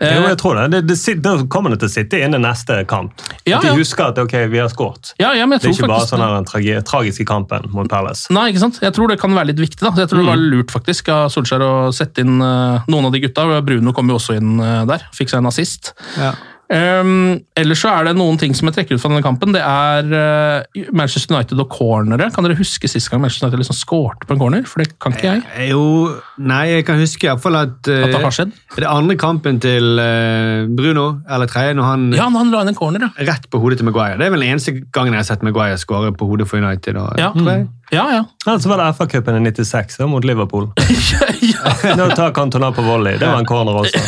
Speaker 2: Eh,
Speaker 4: Jo, jeg tror det. det, det sit- da kommer det til å sitte inn i neste kamp.
Speaker 2: Ja,
Speaker 4: At de
Speaker 2: ja.
Speaker 4: husker at ok, vi har skåret.
Speaker 2: ja, ja, men jeg
Speaker 4: Det
Speaker 2: tror
Speaker 4: er ikke bare
Speaker 2: faktisk
Speaker 4: sånn her den tragi tragiske kampen mot Palace.
Speaker 2: Nei, ikke sant? Jeg tror det kan være litt viktig. da. Så Jeg tror det var lurt faktisk av Solskjær å sette inn eh, noen av de gutta. Bruno kom jo også inn eh, der, fikk seg en assist.
Speaker 3: Ja.
Speaker 2: Ehm, ellers så er det noen ting som jeg trekker ut fra denne kampen. Det er eh, Manchester United og cornere. Kan dere huske sist gang Manchester United liksom skårte på en corner? For det kan ikke jeg.
Speaker 3: Eh, Jo, nei, jeg kan huske iallfall at eh,
Speaker 2: At det har skjedd?
Speaker 3: Det er andre kampen til eh, Bruno, eller tredje, når han
Speaker 2: Ja, men han la inn en corner, ja.
Speaker 3: rett på hodet til Maguire. Det er vel den eneste gangen jeg har sett Maguire skåre på hodet for United. Og,
Speaker 2: Ja, Mm.
Speaker 3: tror jeg.
Speaker 2: ja. ja.
Speaker 4: Ja, så var det FA-cupen i 96 da, mot Liverpool.
Speaker 2: ja.
Speaker 4: Nå tar Cantona på volley. Det var en corner også.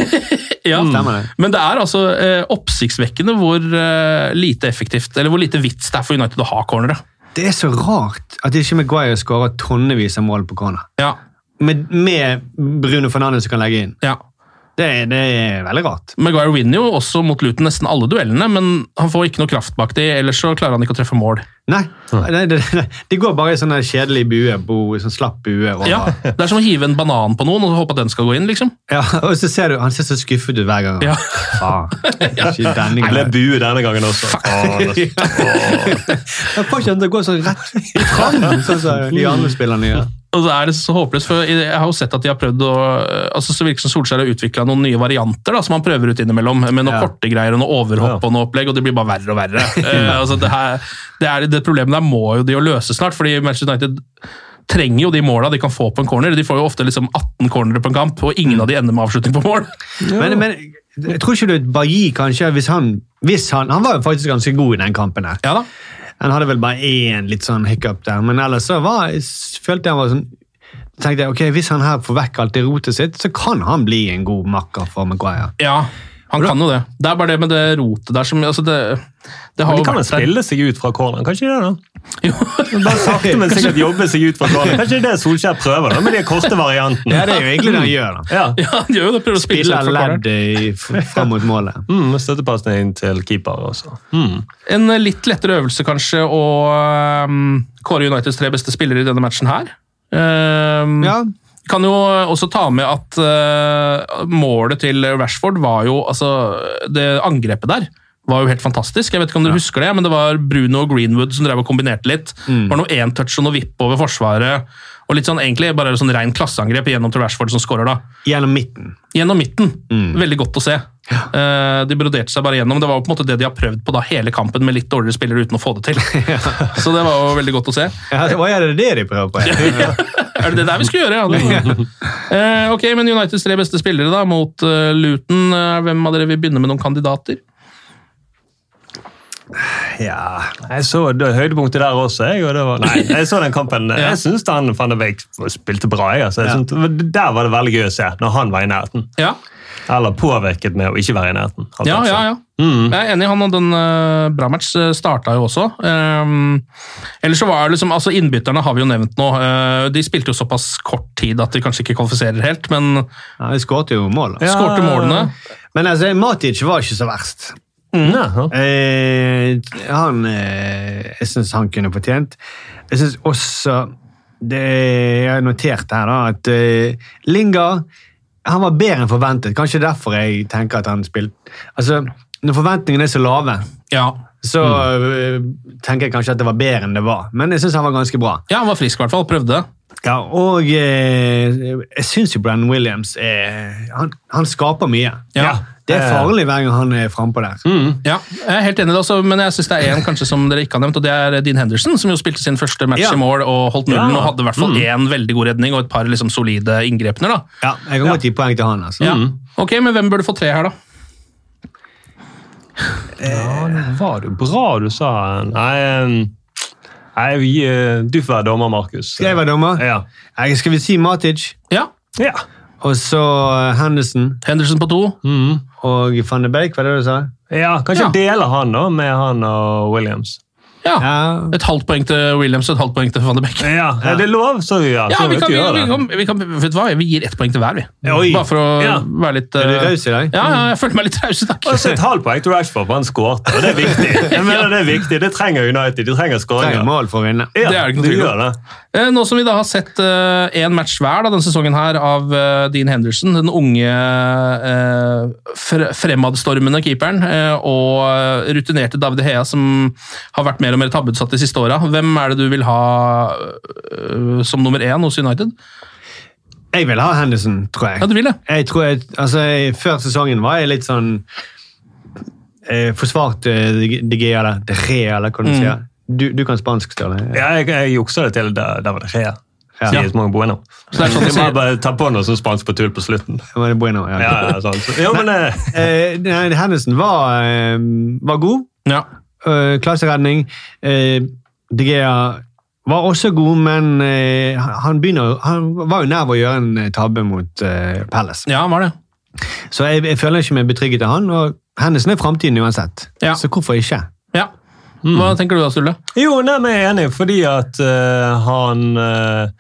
Speaker 2: ja.
Speaker 3: Stemmer det.
Speaker 2: Men det er altså eh, oppsiktsvekkende hvor eh, lite effektivt, eller hvor lite vits det er for United å ha cornere.
Speaker 3: Det er så rart at ikke Maguire skårer tonnevis av mål på corner.
Speaker 2: Ja,
Speaker 3: Med, med Bruno Fernandes som kan legge inn.
Speaker 2: ja.
Speaker 3: Det, er- det er veldig rart.
Speaker 2: Maguire vinner jo også mot Luton nesten alle duellene, men han får ikke noe kraft bak de, ellers så klarer han ikke å treffe mål.
Speaker 3: Nei, det, det, det, de går bare i sånn kjedelig bue, bo, sånn slapp bue. Over.
Speaker 2: Ja, Det er som å hive en banan på noen og håpe at den skal gå inn, liksom.
Speaker 3: Ja, og så ser du, han ser så skuffet ut hver gang.
Speaker 2: Ja.
Speaker 3: Faen, ikke denne
Speaker 4: Ble
Speaker 3: gangen.
Speaker 4: bue denne gangen også. Å, det-
Speaker 3: Jeg får ikke han til å gå sånn rett fram, sånn som de andre spillerne gjør.
Speaker 2: Og det er det så håpløst, for Jeg har jo sett at de har prøvd å altså Så virker det som Solskjær har utvikla noen nye varianter da, som han prøver ut innimellom, med noen
Speaker 3: Ja.
Speaker 2: korte greier og noe overhopp og noe opplegg, og det blir bare verre og verre. Eh, altså det, her, det, er, det problemet der må jo de jo løse snart, fordi Manchester United trenger jo de måla de kan få på en corner. De får jo ofte liksom 18 cornere på en kamp, og ingen av de ender med avslutning på mål.
Speaker 3: Men, men jeg tror ikke du Bailly, kanskje, hvis han, hvis han Han var jo faktisk ganske god i den kampen. her.
Speaker 2: Ja da.
Speaker 3: Han hadde vel bare én litt sånn hiccup der, men ellers så var, følte jeg han var sånn tenkte jeg, ok, Hvis han her får vekk alt det rotet sitt, så kan han bli en god makker for Maguire.
Speaker 2: Ja, han kan jo det. Det er bare det med det rotet der som altså det, det har
Speaker 4: Men de
Speaker 2: jo
Speaker 4: kan jo
Speaker 2: vært der.
Speaker 4: spille seg ut fra corneren, kan ikke de det? da? Bare sakte, men sikkert jobbe seg ut fra corneren. Kanskje det er det Solskjær prøver, da, med de korte variantene.
Speaker 3: Ja, Det er jo egentlig det han gjør. da.
Speaker 4: Ja.
Speaker 2: Ja, han gjør jo det, prøver å spille seg ut
Speaker 3: Spiller
Speaker 2: fra corneren.
Speaker 3: leddet fram mot målet.
Speaker 4: Mm, Støttepasning inn til keeper også. Mm.
Speaker 2: En eh, litt lettere øvelse kanskje å ehm, kåre Uniteds tre beste spillere i denne matchen her. Ehm,
Speaker 3: Ja,
Speaker 2: Kan jo også ta med at eh, målet til Rashford var jo Altså, det angrepet der var jo helt fantastisk. Jeg vet ikke om dere husker det, men det var Bruno og Greenwood som drev og kombinerte litt. Det var noe én-touch og noe vipp over forsvaret. Og litt sånn egentlig bare sånn rein klasseangrep gjennom til Rashford som skårer, da.
Speaker 3: Gjennom midten.
Speaker 2: Gjennom midten. Veldig godt å se. Eh, de broderte seg bare gjennom. Det var jo på en måte det de har prøvd på da hele kampen med litt dårligere spillere uten å få det til. Så det var jo veldig godt å se.
Speaker 3: Ja, Hva er det det de prøver på? Ja.
Speaker 2: Er det det der vi skulle gjøre? Ja, det var- Eh, ok, men Uniteds tre beste spillere da, mot eh, Luton. Eh, hvem av dere vil begynne med noen kandidater?
Speaker 4: Ja, jeg så det høydepunktet der også. Jeg, og det var, nei, jeg så den kampen. Jeg syns han van de Beek spilte bra. Jeg, altså. jeg
Speaker 3: Ja.
Speaker 4: synes, der var det veldig gøy å se, når han var i nærheten.
Speaker 2: Ja,
Speaker 4: Eller påvirket med å ikke være i nærheten. alt
Speaker 2: ja,
Speaker 4: altså.
Speaker 2: ja. ja. Jeg er enig, han hadde en eh, bra match. eh, Starta jo også. Um, ellers så var det liksom, altså Innbytterne har vi jo nevnt nå. eh, de spilte jo såpass kort tid at de kanskje ikke kvalifiserer helt, men
Speaker 3: Ja, de skåret jo mål. da.
Speaker 4: Ja.
Speaker 2: skårte målene.
Speaker 3: Men altså, Matic var ikke så verst.
Speaker 2: Mm.
Speaker 4: Ja, ja.
Speaker 3: Eh, han eh, Jeg syns han kunne fortjent. Jeg syns også det, Jeg har notert her da, at eh, Lingard han var bedre enn forventet. Kanskje derfor jeg tenker at han spilte Altså, Når forventningene er så lave,
Speaker 2: Ja.
Speaker 3: så eh, tenker jeg kanskje at det var bedre enn det var. Men jeg syns han var ganske bra.
Speaker 2: ja, han var frisk i hvert fall. Prøvde.
Speaker 3: Ja, Og eh, jeg syns jo Brennan Williams eh, han, han skaper mye.
Speaker 2: Ja. Mm.
Speaker 3: Det er farlig hver gang han er frampå der.
Speaker 2: Ja, jeg er helt enig i det også, men jeg synes det er en kanskje som dere ikke har nevnt, og det er Dean Henderson, som jo spilte sin første match
Speaker 3: Ja.
Speaker 2: i mål og holdt nullen
Speaker 4: Ja.
Speaker 2: og hadde i hvert fall én veldig god redning og et par liksom solide inngrepner. da.
Speaker 3: Ja, Jeg kan godt gi poeng til han. altså.
Speaker 2: Ja. Ok, men hvem burde få tre her, da?
Speaker 4: Var det bra du sa? Nei, em, nei vi, eh, du får være dommer, Markus.
Speaker 3: Skal jeg være dommer?
Speaker 4: Ja.
Speaker 3: Jeg skal vi si Matic,
Speaker 2: Ja,
Speaker 4: ja.
Speaker 3: og så eh, Henderson
Speaker 2: Henderson på to.
Speaker 3: og van de Beek, var det du sa?
Speaker 4: ja kanskje
Speaker 2: Ja.
Speaker 4: dele han da, med han og Williams.
Speaker 2: Ja.
Speaker 3: Ja.
Speaker 2: Et halvt poeng til Williams og et halvt poeng til van de Beck.
Speaker 4: Ja, Er det lov? Så ja,
Speaker 2: Ja,
Speaker 4: så
Speaker 2: vi,
Speaker 4: vet du
Speaker 2: kan, vi,
Speaker 4: gjør
Speaker 2: vi,
Speaker 4: det.
Speaker 2: kan, vi, kan, vet du hva? vi gir ett poeng til hver, vi.
Speaker 4: Oi.
Speaker 2: Bare for å
Speaker 4: Ja.
Speaker 2: være litt
Speaker 3: Er du
Speaker 2: eh,
Speaker 3: raus i dag?
Speaker 2: Ja, ja, jeg følte meg litt raus i dag.
Speaker 4: Og så et halvt poeng til Rashford, for han skåret. og Det er viktig. Jeg mener Det er viktig, det trenger United. De trenger
Speaker 3: Trenger
Speaker 4: skåringer.
Speaker 3: mål for å vinne.
Speaker 4: Ja,
Speaker 2: Det er det ikke noe tvil om.
Speaker 4: gjør det.
Speaker 2: Eh, Nå som vi da har sett én match hver da, denne sesongen her av eh, Dean Henderson, den unge eh, fre fremadstormende keeperen, eh, og eh, rutinerte David Hea, som har vært mer og mer tabbeutsatt de siste åra. Hvem er det du vil ha eh, som nummer én hos United?
Speaker 3: Jeg vil ha Henderson, tror
Speaker 2: Ja,
Speaker 3: jeg.
Speaker 2: du vil det?
Speaker 3: Jeg tror jeg, altså, jeg- Før sesongen var jeg litt sånn eh, Forsvarte De Gea, eller De Gea, eller hva du sier. Du, du kan spansk, Ståle.
Speaker 4: Ja, jeg, jeg juksa det til da, da var det Rea.
Speaker 3: Ja.
Speaker 4: Sier Simon Bueno.
Speaker 2: Så det er sånn
Speaker 4: Jeg
Speaker 2: du
Speaker 4: må
Speaker 2: sier-
Speaker 4: bare ta på noe sånn spansk på tull på slutten.
Speaker 3: Var det Bueno? Ja.
Speaker 4: Ja, ja, sånn. Så, jo, men eh,
Speaker 3: Eh, nei, Henderson var, eh, var god.
Speaker 2: Ja.
Speaker 3: Eh, klasseredning. Eh, De Gea var også god, men eh, han, begynner, han var jo nær ved å gjøre en eh, tabbe mot eh, Palace.
Speaker 2: ja, var det.
Speaker 3: Så jeg, jeg føler ikke meg betrygget av han, og Henderson er framtiden uansett.
Speaker 2: Ja.
Speaker 3: Så hvorfor ikke?
Speaker 2: Ja. Hva tenker du da, Sturle?
Speaker 4: Jo, nei, men jeg er enig, fordi at eh, han eh,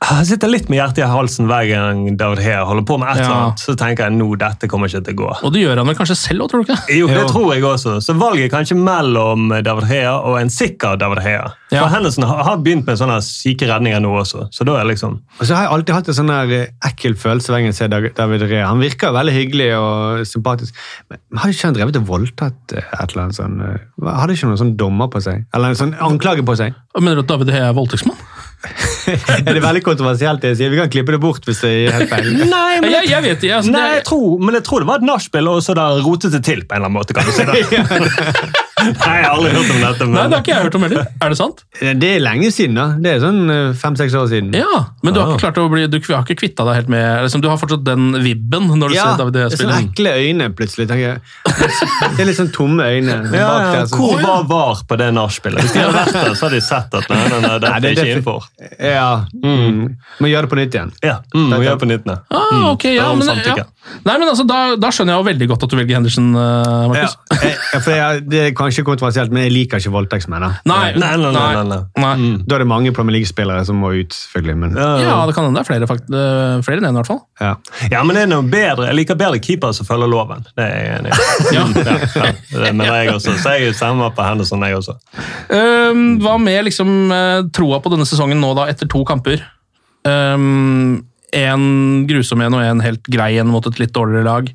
Speaker 4: Han sitter litt med hjertet i halsen hver gang David Hea holder på med et eller
Speaker 2: Ja.
Speaker 4: annet. Så tenker jeg nå, dette kommer ikke til å gå.
Speaker 2: Og det gjør han vel kanskje selv òg, tror du ikke? det?
Speaker 4: Jo, det tror jeg også. Så valget er kanskje mellom David Hea og en sikker David Hea.
Speaker 2: Ja.
Speaker 4: For Henderson har, har begynt med sånne syke redninger nå også. Så da er liksom
Speaker 3: Og så har jeg alltid hatt en sånn der eh, ekkel følelse hver gang jeg ser Dag- David Rea. Han virker veldig hyggelig og sympatisk, men har ikke han drevet og voldtatt eh, et eller annet sånn eh, hva- Hadde ikke noen sånn dommer på seg? Eller en sånn anklage på seg?
Speaker 2: Mener du at David Hea er voldtektsmann?
Speaker 3: er det veldig kontroversielt det jeg sier? Vi kan klippe det bort hvis det er helt feil.
Speaker 4: Nei,
Speaker 2: Jeg, jeg vet ikke. Altså,
Speaker 4: Nei,
Speaker 2: det
Speaker 4: jeg tror, men jeg tror det var et nachspiel, og så der rotet det til på en eller annen måte. kan du si det. Nei, jeg har aldri hørt om dette. Men...
Speaker 2: Nei, det har ikke jeg hørt om heller. Er det sant?
Speaker 3: Det er lenge siden, da. Det er sånn eh, fem-seks år siden.
Speaker 2: Ja,
Speaker 4: Ah.
Speaker 2: Men du har ikke klart å bli, du har ikke kvitta deg helt med liksom, Du har fortsatt den vibben når du
Speaker 3: Ja,
Speaker 2: ser David
Speaker 3: det
Speaker 2: Hea
Speaker 3: er sånne
Speaker 2: spille.
Speaker 3: ekle øyne plutselig. tenker jeg. Det er litt sånn tomme øyne.
Speaker 4: Ja,
Speaker 3: bak
Speaker 4: ja, altså.
Speaker 3: der, sånn.
Speaker 4: Hvor var VAR på det nachspielet? Hvis de hadde vært der, så hadde de sett at nei, nei, nei, dette
Speaker 3: Nei,
Speaker 4: er
Speaker 3: det er
Speaker 4: ikke
Speaker 3: defi-
Speaker 4: innenfor.
Speaker 3: Ja. Mm. Må gjøre det på nytt igjen.
Speaker 4: Ja, mm, vi gjør på nytt nå.
Speaker 2: Ah, ok, ja,
Speaker 4: om
Speaker 2: men, ja.
Speaker 4: samtykke.
Speaker 2: Nei, men altså, da, da skjønner jeg jo veldig godt at du velger Henderson, eh,
Speaker 3: Ja.
Speaker 2: Markus.
Speaker 3: Eh, for jeg, det er kanskje kontroversielt, men jeg liker ikke voldtektsmenn. da.
Speaker 2: Nei,
Speaker 4: Nei, nei, nei, nei, nei.
Speaker 3: Da er det mange Premier League-spillere som må ut, selvfølgelig. Men, ja.
Speaker 4: Mm.
Speaker 2: Ja, det kan hende det er flere, fakt eh, flere enn én, i hvert fall.
Speaker 4: Ja, men det er noe bedre. Jeg liker bedre keepere som følger loven. Det er jeg enig i.
Speaker 2: Ja.
Speaker 4: Ja, ja, det mener jeg også. Så jeg stemmer på Henderson, jeg også.
Speaker 2: Ehm, hva med liksom eh, troa på denne sesongen nå, da, etter to kamper? Ehm, en grusom en og en helt grei en mot et litt dårligere lag.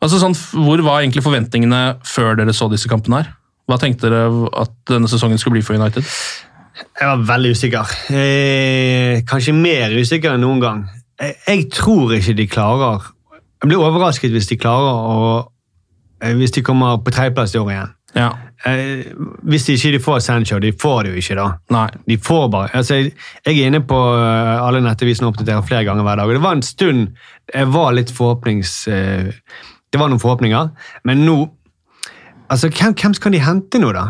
Speaker 2: Altså sånn, f- Hvor var egentlig forventningene før dere så disse kampene her? Hva tenkte dere at denne sesongen skulle bli for United?
Speaker 3: Jeg var veldig usikker. Eh, kanskje mer usikker enn noen gang. Jeg, jeg tror ikke de klarer Jeg blir overrasket hvis de klarer å eh, Hvis de kommer på tredjeplass i år igjen.
Speaker 2: Ja,
Speaker 3: Eh, hvis de ikke de får Sancho, de får det jo ikke da.
Speaker 2: nei.
Speaker 3: De får bare, altså jeg, jeg er inne på eh, alle nettavisene og oppdaterer flere ganger hver dag. og Det var en stund jeg var litt forhåpnings... eh, Det var noen forhåpninger, men nå Altså, hvem, hvem skal de hente nå, da?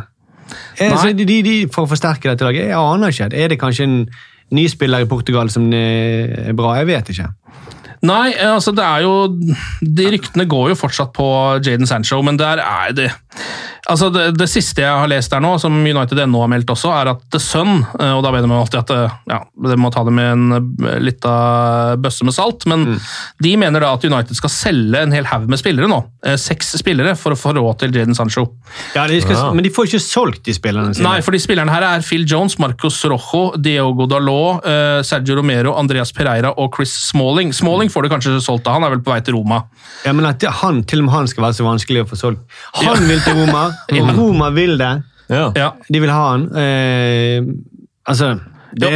Speaker 3: Eh,
Speaker 2: Nei.
Speaker 3: så de, de, de, for å forsterke dette laget? Jeg aner ikke. Er det kanskje en ny spiller i Portugal som eh, er bra? Jeg vet ikke.
Speaker 2: Nei, eh, altså det er jo De ryktene går jo fortsatt på Jaden Sancho, men der er det Altså det, det siste jeg har lest der nå, som United NO har meldt også, er at The Sun eh, Og da mener man alltid at eh, ja, det må ta det med en eh, lita bøsse med salt, men de mener da at United skal selge en hel haug med spillere nå. Eh, Seks spillere for å få råd til Jaden Sancho.
Speaker 3: Ja, de skal,
Speaker 4: Ja.
Speaker 3: Men de får ikke solgt de spillerne sine.
Speaker 2: Nei, for de spillerne her er Phil Jones, Marcos Rojo, Diogo Dalot, eh, Sergio Romero, Andreas Pereira og Chris Smalling. Smalling får du kanskje solgt av, han er vel på vei til Roma.
Speaker 3: Ja, men at han, Til og med han skal være så vanskelig å få solgt. Han vil til Roma, Roma vil det.
Speaker 4: Ja.
Speaker 2: Ja,
Speaker 3: De vil ha han. Eh, altså det,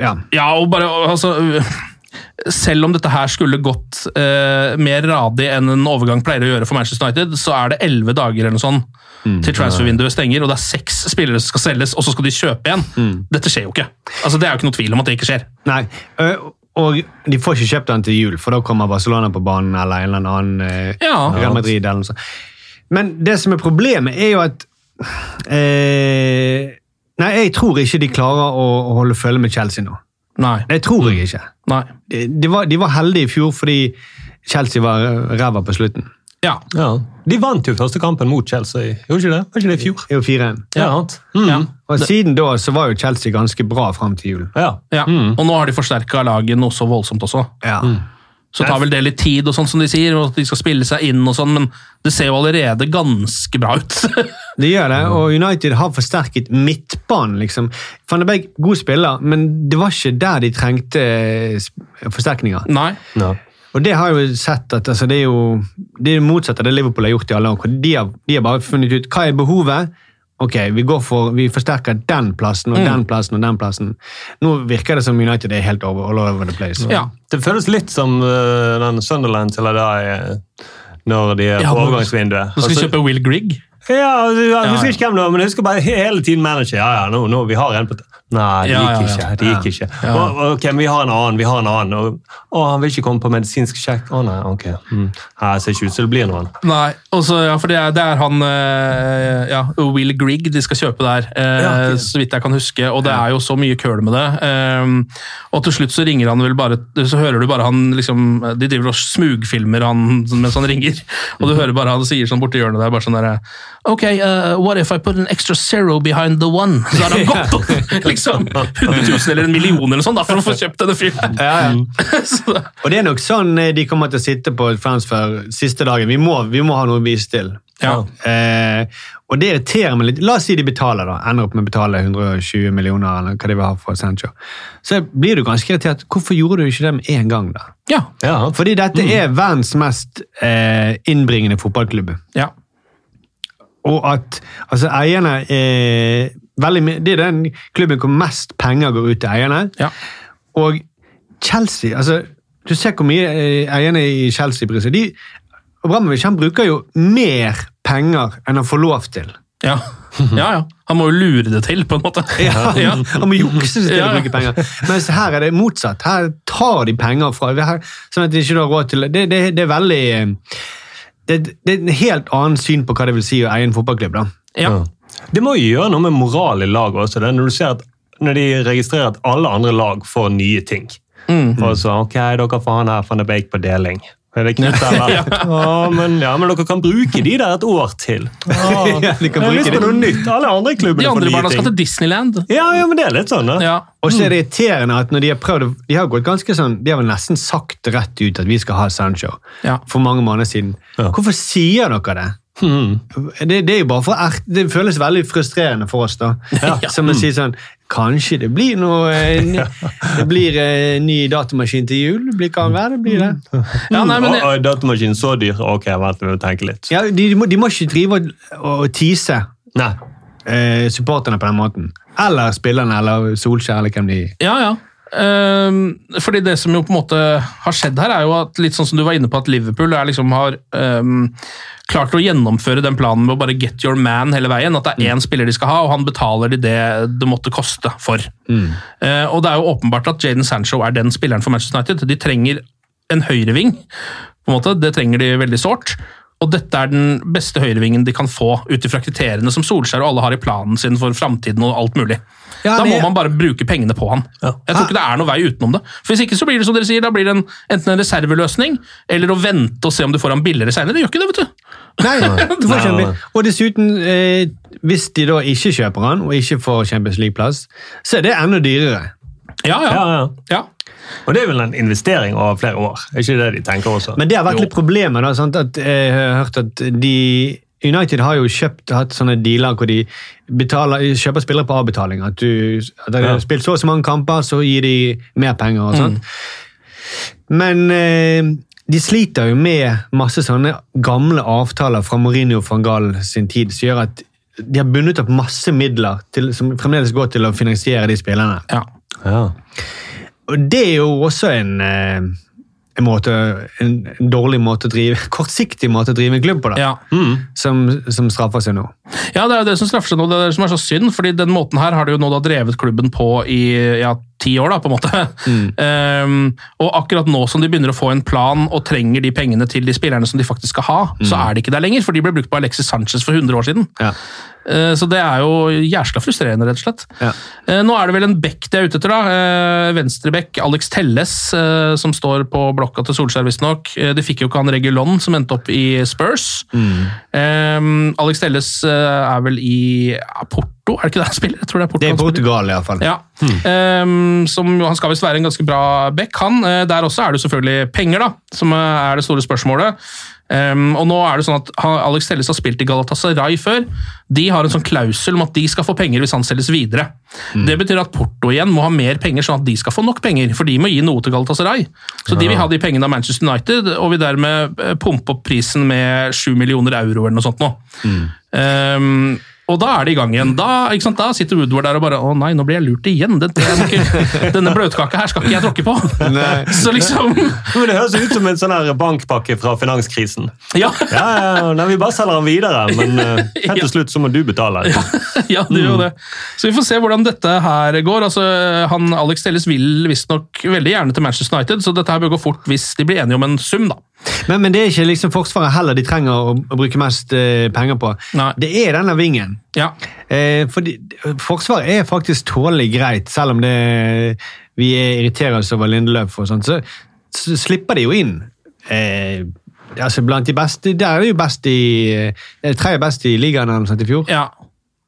Speaker 3: ja.
Speaker 2: ja og bare altså, øh, Selv om dette her skulle gått eh, mer radig enn en overgang pleier å gjøre for Manchester United, så er det elleve dager eller noe sånn til transfervinduet stenger, og det er seks spillere som skal selges, og så skal de kjøpe igjen. Dette skjer jo ikke. Altså, Det er jo ikke noe tvil om at det ikke skjer.
Speaker 3: Nei. ø, Og de får ikke kjøpt den til jul, for da kommer Barcelona på banen eller en eller annen eh,
Speaker 2: Ja.
Speaker 3: Real Madrid eller noe sånt. Men det som er problemet, er jo at eh, Nei, jeg tror ikke de klarer å å holde følge med Chelsea nå.
Speaker 2: Nei.
Speaker 3: Det tror jeg ikke.
Speaker 2: Nei.
Speaker 3: De, de, var, de var heldige i fjor fordi Chelsea var eh, ræva på slutten.
Speaker 2: Ja.
Speaker 4: Ja. De vant jo første kampen mot Chelsea. Gjorde ikke det? Var ikke det i fjor?
Speaker 3: Det er jo 4-1.
Speaker 4: Ja. Mm.
Speaker 2: ja.
Speaker 3: Og siden da så var jo Chelsea ganske bra fram til jul.
Speaker 4: ja.
Speaker 2: Ja, Og nå har de forsterka laget noe så voldsomt også.
Speaker 3: Ja.
Speaker 2: Så tar vel det litt tid, og sånn som de sier, og at de skal spille seg inn, og sånn, men det ser jo allerede ganske bra ut.
Speaker 3: Det gjør det, og United har forsterket midtbanen. liksom. Van de Beek, god spiller, men det var ikke der de trengte eh, sp- forsterkninger.
Speaker 2: Nei.
Speaker 4: Ja.
Speaker 3: Og det har jeg jo sett at altså, det er jo det er det motsatte av det Liverpool har gjort i alle år. hvor De har, de har bare funnet ut hva er behovet. Ok, vi, går for, vi forsterker den plassen
Speaker 2: Mm.
Speaker 3: og den plassen og den plassen. Nå virker det som United er helt over, all over the place.
Speaker 2: Ja.
Speaker 4: Det føles litt som eh, den Sunderland til Adai eh, når de er
Speaker 2: Ja,
Speaker 4: på
Speaker 2: men-
Speaker 4: overgangsvinduet.
Speaker 2: Så skal de
Speaker 4: Altså-
Speaker 2: kjøpe Will Grigg.
Speaker 4: Ja, altså, jeg
Speaker 2: Ja, ja.
Speaker 4: husker ikke hvem det var, men jeg husker bare he- hele tiden manager. Ja, ja, nå, nå, vi har en på t- Nei, det
Speaker 2: Ja, ja,
Speaker 4: gikk
Speaker 2: ja.
Speaker 4: ikke. Det gikk ikke.
Speaker 2: Ja.
Speaker 4: Å, ok, men vi har en annen, vi har en annen. Og, å, han vil ikke komme på medisinsk sjekk. Å nei, ok. Mm. Her ser ikke ut som det blir noen.
Speaker 2: Nei, og så, ja, for det er, det er han eh, ja, Will Grigg de skal kjøpe der, eh,
Speaker 4: Ja, ok.
Speaker 2: så vidt jeg kan huske. Og det er jo så mye køl med det. Eh, og til slutt så ringer han vel bare Så hører du bare han liksom De driver og smugfilmer han mens han ringer, og du hører bare han sier sånn borti hjørnet der bare sånn derre Ok, eh, what if I put an extra zero behind the one? Så har han gått opp liksom 100 000 eller en million eller sånn da, for å få kjøpt denne fyren.
Speaker 3: Ja, ja.
Speaker 2: Så det-
Speaker 3: Og det er nok sånn eh, de kommer til å sitte på transfer siste dagen. Vi må, vi må ha noe å vise til.
Speaker 2: Ja.
Speaker 3: Eh, og det irriterer meg litt. La oss si de betaler, da. Ender opp med å betale 120 millioner, eller hva de vil ha for Sancho. Så blir du ganske irritert. Hvorfor gjorde du ikke det med en gang, da?
Speaker 2: ja.
Speaker 4: Ja,
Speaker 3: Fordi dette er verdens mest eh, innbringende fotballklubb.
Speaker 2: ja.
Speaker 3: Og at altså, eierne er veldig mye Det er den klubben hvor mest penger går ut til eierne.
Speaker 2: Ja.
Speaker 3: Og Chelsea altså, Du ser hvor mye eh, eierne i Chelsea bryr seg. De, Abramovic han bruker jo mer penger enn han får lov til.
Speaker 2: Ja. ja, ja. Han må jo lure det til, på en måte. Ja.
Speaker 3: Han må jukse seg til
Speaker 2: Ja.
Speaker 3: å bruke penger. Mens her er det motsatt. Her tar de penger fra det her, Sånn at de ikke har råd til det. Det, det, det er veldig eh, det, det er en helt annen syn på hva det vil si å eie en fotballklubb. da.
Speaker 2: Ja.
Speaker 4: Det må jo gjøre noe med moral i laget også, det, når, du ser at, når de registrerer at alle andre lag får nye ting.
Speaker 2: Mm.
Speaker 4: Og så, ok, dere får han her van de Beek på deling. Er det Knut eller? Å, men, ja, men dere kan bruke de der et år til. Å,
Speaker 3: Ja, de
Speaker 4: jeg
Speaker 3: kan
Speaker 4: har
Speaker 3: bruke
Speaker 4: lyst på
Speaker 3: de.
Speaker 4: noe nytt. Alle andre
Speaker 2: De
Speaker 4: klubbene får
Speaker 2: andre
Speaker 4: nye
Speaker 2: barna skal
Speaker 4: ting.
Speaker 2: til Disneyland.
Speaker 4: Ja, ja, men det er litt sånn, da.
Speaker 2: Ja.
Speaker 3: Og så er det irriterende at når de har prøvd å- De har gått ganske sånn, de har vel nesten sagt rett ut at vi skal ha Sancho
Speaker 2: Ja.
Speaker 3: for mange måneder siden.
Speaker 4: Ja.
Speaker 3: Hvorfor sier dere det? Det, det er jo bare for ert, Det føles veldig frustrerende for oss, da. Som å si sånn Kanskje det blir noe eh, ny- Det blir eh, ny datamaskin til jul? Blir, kan være, det blir det.
Speaker 2: Ja, nei, men
Speaker 4: Å,
Speaker 2: jeg,
Speaker 4: Mm. å, datamaskinen så dyr. Ok, vent, vi må tenke litt.
Speaker 3: Ja, de, de, må, de må ikke drive og, og tease
Speaker 4: Nei.
Speaker 3: eh, supporterne på den måten. Eller spillerne, eller Solskjær, eller hvem de
Speaker 2: ja, ja. Ehm, fordi det som jo på en måte har skjedd her, er jo at litt sånn som du var inne på, at Liverpool er liksom har ehm, klart å gjennomføre den planen med å bare get your man hele veien. At
Speaker 3: Mm.
Speaker 2: det er én spiller de skal ha, og han betaler de det det måtte koste for.
Speaker 3: Mm.
Speaker 2: Eh, og det er jo åpenbart at Jaden Sancho er den spilleren for Manchester United. De trenger en høyreving, på en måte. Det trenger de veldig sårt. Og dette er den beste høyrevingen de kan få, ut ifra kriteriene som Solskjær og alle har i planen sin for framtiden og alt mulig.
Speaker 3: Ja,
Speaker 2: da må
Speaker 3: det-
Speaker 2: man bare bruke pengene på han. Jeg tror ikke det er noe vei utenom det. For Hvis ikke så blir det som dere sier, da blir det en, enten en reserveløsning, eller å vente og se om du får han billigere senere. Det gjør ikke det, vet du.
Speaker 3: Nei, du får
Speaker 4: Nei, nei,
Speaker 3: Champions- Og dessuten, eh, hvis de da ikke kjøper han, og ikke får Champions League-plass, så er det enda dyrere.
Speaker 2: Ja, ja.
Speaker 4: Ja, ja.
Speaker 2: ja.
Speaker 4: Og det er vel en investering over flere år. Er ikke det de tenker også?
Speaker 3: Men det har vært
Speaker 2: Jo.
Speaker 3: litt problemer. da, sant? At eh, jeg har hørt at de United har jo kjøpt, hatt sånne dealer hvor de betaler, kjøper spillere på avbetaling. At du at de
Speaker 4: Ja.
Speaker 3: har spilt så og så mange kamper, så gir de mer penger. og sånt. Men eh, de sliter jo med masse sånne gamle avtaler fra Mourinho van Gaal sin tid, som gjør at de har bundet opp masse midler til, som fremdeles går til å finansiere de spillerne.
Speaker 2: ja.
Speaker 4: ja.
Speaker 3: Og det er jo også en, eh, en, måte, en en dårlig måte å drive, kortsiktig måte å drive en klubb på, da,
Speaker 2: ja.
Speaker 3: som, som straffer seg nå.
Speaker 2: Ja, det er jo det som straffer seg nå, det er det som er så synd, fordi den måten her har de jo nå da drevet klubben på i ja, ti år, da, på en måte. Ehm, og akkurat nå som de begynner å få en plan og trenger de pengene til de spillerne som de faktisk skal ha, så er de ikke der lenger, for de ble brukt på Alexis Sanchez for 100 år siden.
Speaker 3: Ja.
Speaker 2: Eh, så det er jo jæskla frustrerende, rett og slett.
Speaker 3: Ja.
Speaker 2: Eh, nå er det vel en bekk de er ute etter, da. Eh, Venstrebekk Alex Telles, eh, som står på blokka til Solskjær, visstnok. Eh, de fikk jo ikke han Regulon, som endte opp i Spurs.
Speaker 3: Mm.
Speaker 2: Eh, Alex Telles eh, er vel i ja, Porto, er det ikke det han spiller? Jeg tror det er Porto.
Speaker 3: Det er
Speaker 2: han spiller.
Speaker 3: Portugal, iallfall.
Speaker 2: Ja. Ehm, som, jo- han skal visst være en ganske bra back, han. Eh, der også er det jo selvfølgelig penger, da, som eh, er det store spørsmålet. Ehm, og nå er det sånn at han, Alex Telles har spilt i Galatasaray før. De har en sånn klausul om at de skal få penger hvis han selges videre. Det betyr at Porto igjen må ha mer penger, sånn at de skal få nok penger. For de må gi noe til Galatasaray. Så de vil ha de pengene av Manchester United, og vil dermed eh, pumpe opp prisen med 7 millioner euro eller noe sånt nå. Ehm, og da er det i gang igjen. Da, ikke sant? da sitter Woodward der og bare Å nei, nå blir jeg lurt igjen. Den, den, denne bløtkaka her skal ikke jeg tråkke på.
Speaker 3: Nei.
Speaker 2: Så liksom
Speaker 4: Men det høres ut som en sånn her bankpakke fra finanskrisen.
Speaker 2: Ja,
Speaker 4: Ja, ja, nei, Vi bare selger den videre, men eh, helt til slutt så må du betale.
Speaker 2: ja det gjør jo det. Så vi får se hvordan dette her går. Altså, han Alex Telles vil visstnok veldig gjerne til Manchester United, så dette her bør gå fort hvis de blir enige om en sum, da.
Speaker 3: Men, men det er ikke liksom Forsvaret heller de trenger å, å bruke mest eh, penger på.
Speaker 2: Nei.
Speaker 3: Det er denne vingen.
Speaker 2: Ja.
Speaker 3: Eh, fordi, forsvaret er faktisk tålelig greit, selv om det, vi er- irriterer oss over Lindeløf. Og sånt, så, så slipper de jo inn. Eh, altså blant de beste, Der er de jo best i eh, tre best i ligaen eller noe sånt i fjor.
Speaker 2: ja.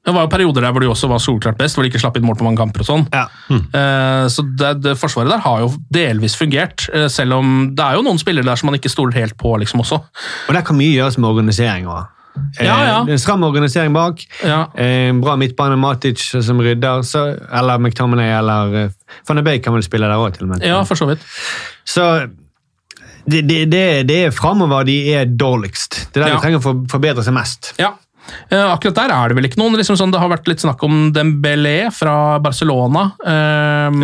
Speaker 2: Det var jo perioder der hvor de også var solklart best, hvor de ikke slapp inn mål på mange kamper og sånn.
Speaker 3: Ja.
Speaker 2: Eh, Så det, det forsvaret der har jo delvis fungert, eh, selv om det er jo noen spillere der som man ikke stoler helt på, liksom, også.
Speaker 3: Og der kan mye gjøres med organisering også. Eh,
Speaker 2: Ja, ja.
Speaker 3: det er En stram organisering bak.
Speaker 2: Ja.
Speaker 3: Eh, en bra midtbane, Matic som rydder, så, eller McTominay eller eh, Van de Beek kan vel spille der òg, til og med.
Speaker 2: Ja, for så vidt.
Speaker 3: Så det, det, det, det er framover de er dårligst. Det er
Speaker 2: Ja.
Speaker 3: der de trenger å for- forbedre seg mest.
Speaker 2: Ja. Eh, akkurat der er det vel ikke noen. Liksom sånn, det har vært litt snakk om Dembélé fra Barcelona. Eh,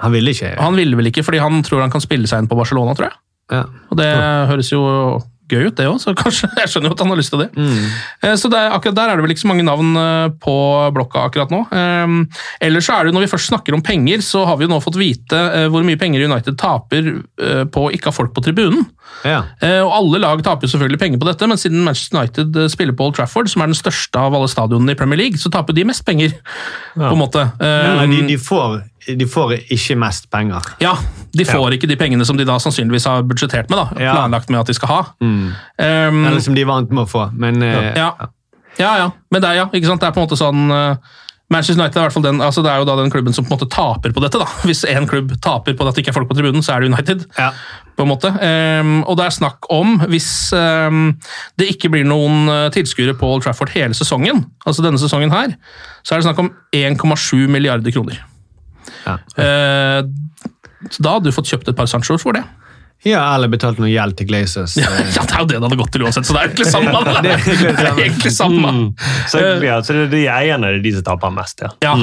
Speaker 3: Han ville ikke.
Speaker 2: han ville vel ikke, fordi han tror han kan spille seg inn på Barcelona, tror jeg.
Speaker 3: Ja.
Speaker 2: Og det høres jo gøy ut, det òg, så kanskje jeg skjønner jo at han har lyst til det. Eh, Så det, er- akkurat der er det vel ikke så mange navn eh, på blokka akkurat nå. Eh, Ellers så er det jo, når vi først snakker om penger, så har vi jo nå fått vite eh, hvor mye penger United taper eh, på å ikke ha folk på tribunen.
Speaker 3: Ja.
Speaker 2: Eh, Og Alle lag taper jo selvfølgelig penger på dette, men siden Manchester United eh, spiller på Old Trafford, som er den største av alle stadionene i Premier League, så taper de mest penger, på en måte. Eh,
Speaker 3: Nei, de, de, får, de får ikke mest penger.
Speaker 2: ja, de får ikke de pengene som de da sannsynligvis har budsjettert med, da,
Speaker 3: Ja. Mm.
Speaker 2: planlagt med at de skal ha. Um,
Speaker 3: Eller som de er vant med å få. Men, eh,
Speaker 2: ja. ja, ja. Men det er, ja, ikke sant? Det er på en måte sånn eh, Manchester United er, i hvert fall den, altså det er jo da den klubben som på en måte taper på dette. da. Hvis én klubb taper på at det ikke er folk på tribunen, så er det United.
Speaker 3: Ja.
Speaker 2: på en måte. Ehm, og det er snakk om, hvis ehm, det ikke blir noen eh, tilskuere på Old Trafford hele sesongen, altså denne sesongen her, så er det snakk om 1,7 milliarder kroner.
Speaker 3: Ja.
Speaker 2: Eh, så da hadde du fått kjøpt et par Sanchoer for det.
Speaker 3: ja, eller betalt noe gjeld til eh, Glazers.
Speaker 2: Ja, det er jo det det hadde gått til uansett, så det er jo egentlig samme. da.
Speaker 3: det er egentlig
Speaker 2: Det er egentlig samme.
Speaker 4: Så, ja, så det er de eierne det er de som taper mest, ja.
Speaker 2: Ja,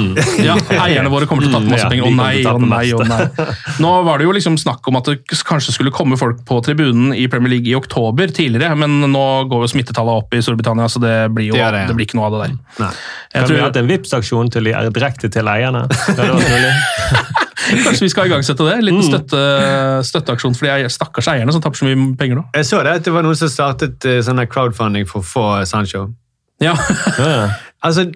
Speaker 2: ja, eierne våre kommer til å tape masse
Speaker 4: Ja,
Speaker 2: penger.
Speaker 4: de
Speaker 2: Å
Speaker 4: kommer
Speaker 2: nei,
Speaker 4: til å
Speaker 2: å
Speaker 4: tape
Speaker 2: nei, å nei. Nå var det jo liksom snakk om at det k- kanskje skulle komme folk på tribunen i Premier League i oktober tidligere, men nå går jo smittetallet opp i Storbritannia, så det blir jo
Speaker 3: Det gjør det, ja.
Speaker 2: det blir ikke noe av det der.
Speaker 3: Nei.
Speaker 4: Kan
Speaker 2: Jeg
Speaker 4: vi ha
Speaker 2: tror,
Speaker 4: eh, hatt en Vipps-aksjon til de- direkte til eierne? Det hadde vært mulig.
Speaker 2: Kanskje vi skal igangsette det? En liten støtte, støtteaksjon for de eier- stakkars eierne som tapper så mye penger nå.
Speaker 3: Jeg så det at det var noen som startet eh, sånn her crowdfunding for å få eh, Sancho.
Speaker 2: Ja,
Speaker 4: Ja.
Speaker 3: Altså,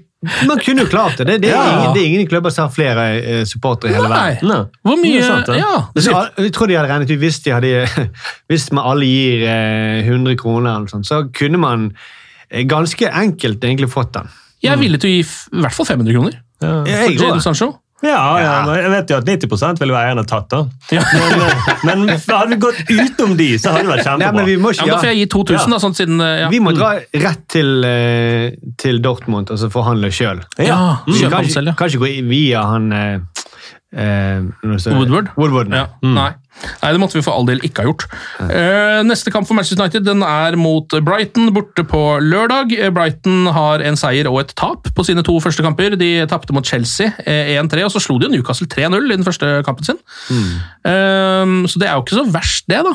Speaker 3: Man kunne jo klart det. Det, det, er,
Speaker 2: Ja.
Speaker 3: ingen, det er ingen klubber som har flere eh, supportere i hele verden.
Speaker 2: Nei!
Speaker 4: Nei.
Speaker 2: Hvor
Speaker 4: Det
Speaker 2: mye
Speaker 4: er sant, det.
Speaker 2: Ja,
Speaker 3: Så, al- jeg tror de hadde regnet ut Hvis, de hadde, hvis man alle gir eh, 100 kroner, eller noe sånt, så kunne man eh, ganske enkelt egentlig fått den.
Speaker 2: Jeg er villig til å gi f- i hvert fall 500 kroner
Speaker 4: Ja.
Speaker 2: for
Speaker 3: Jeg går.
Speaker 2: Jadon Sancho.
Speaker 4: Ja, ja, men jeg vet jo at 90 ville eierne tatt, da. Men, eh, men hadde vi gått utenom de, så hadde det vært
Speaker 3: Nei,
Speaker 4: kjempebra.
Speaker 3: men vi må
Speaker 2: Ja,
Speaker 3: ikke
Speaker 2: men da
Speaker 3: ja,
Speaker 2: får jeg gi 2000, da, sånn siden eh, ja.
Speaker 3: Vi må dra rett til, eh, til Dortmund og så forhandle sjøl.
Speaker 2: ja, kjøpe
Speaker 3: Vi kan
Speaker 2: han
Speaker 3: ikke-
Speaker 2: selv, ja.
Speaker 3: kan ikke gå i- via han eh, eh, noe sånt-
Speaker 2: Woodward?
Speaker 3: Woodward
Speaker 2: Ja.
Speaker 3: nei.
Speaker 2: Nei. Nei, det måtte vi for all del ikke ha gjort. Eh, neste kamp for Manchester United den er mot Brighton borte på lørdag. Eh, Brighton har en seier og et tap på sine to første kamper. De tapte mot Chelsea eh, 1-3, og så slo de jo Newcastle 3-0 i den første kampen sin.
Speaker 3: Mm.
Speaker 2: Eh, så det er jo ikke så verst, det, da.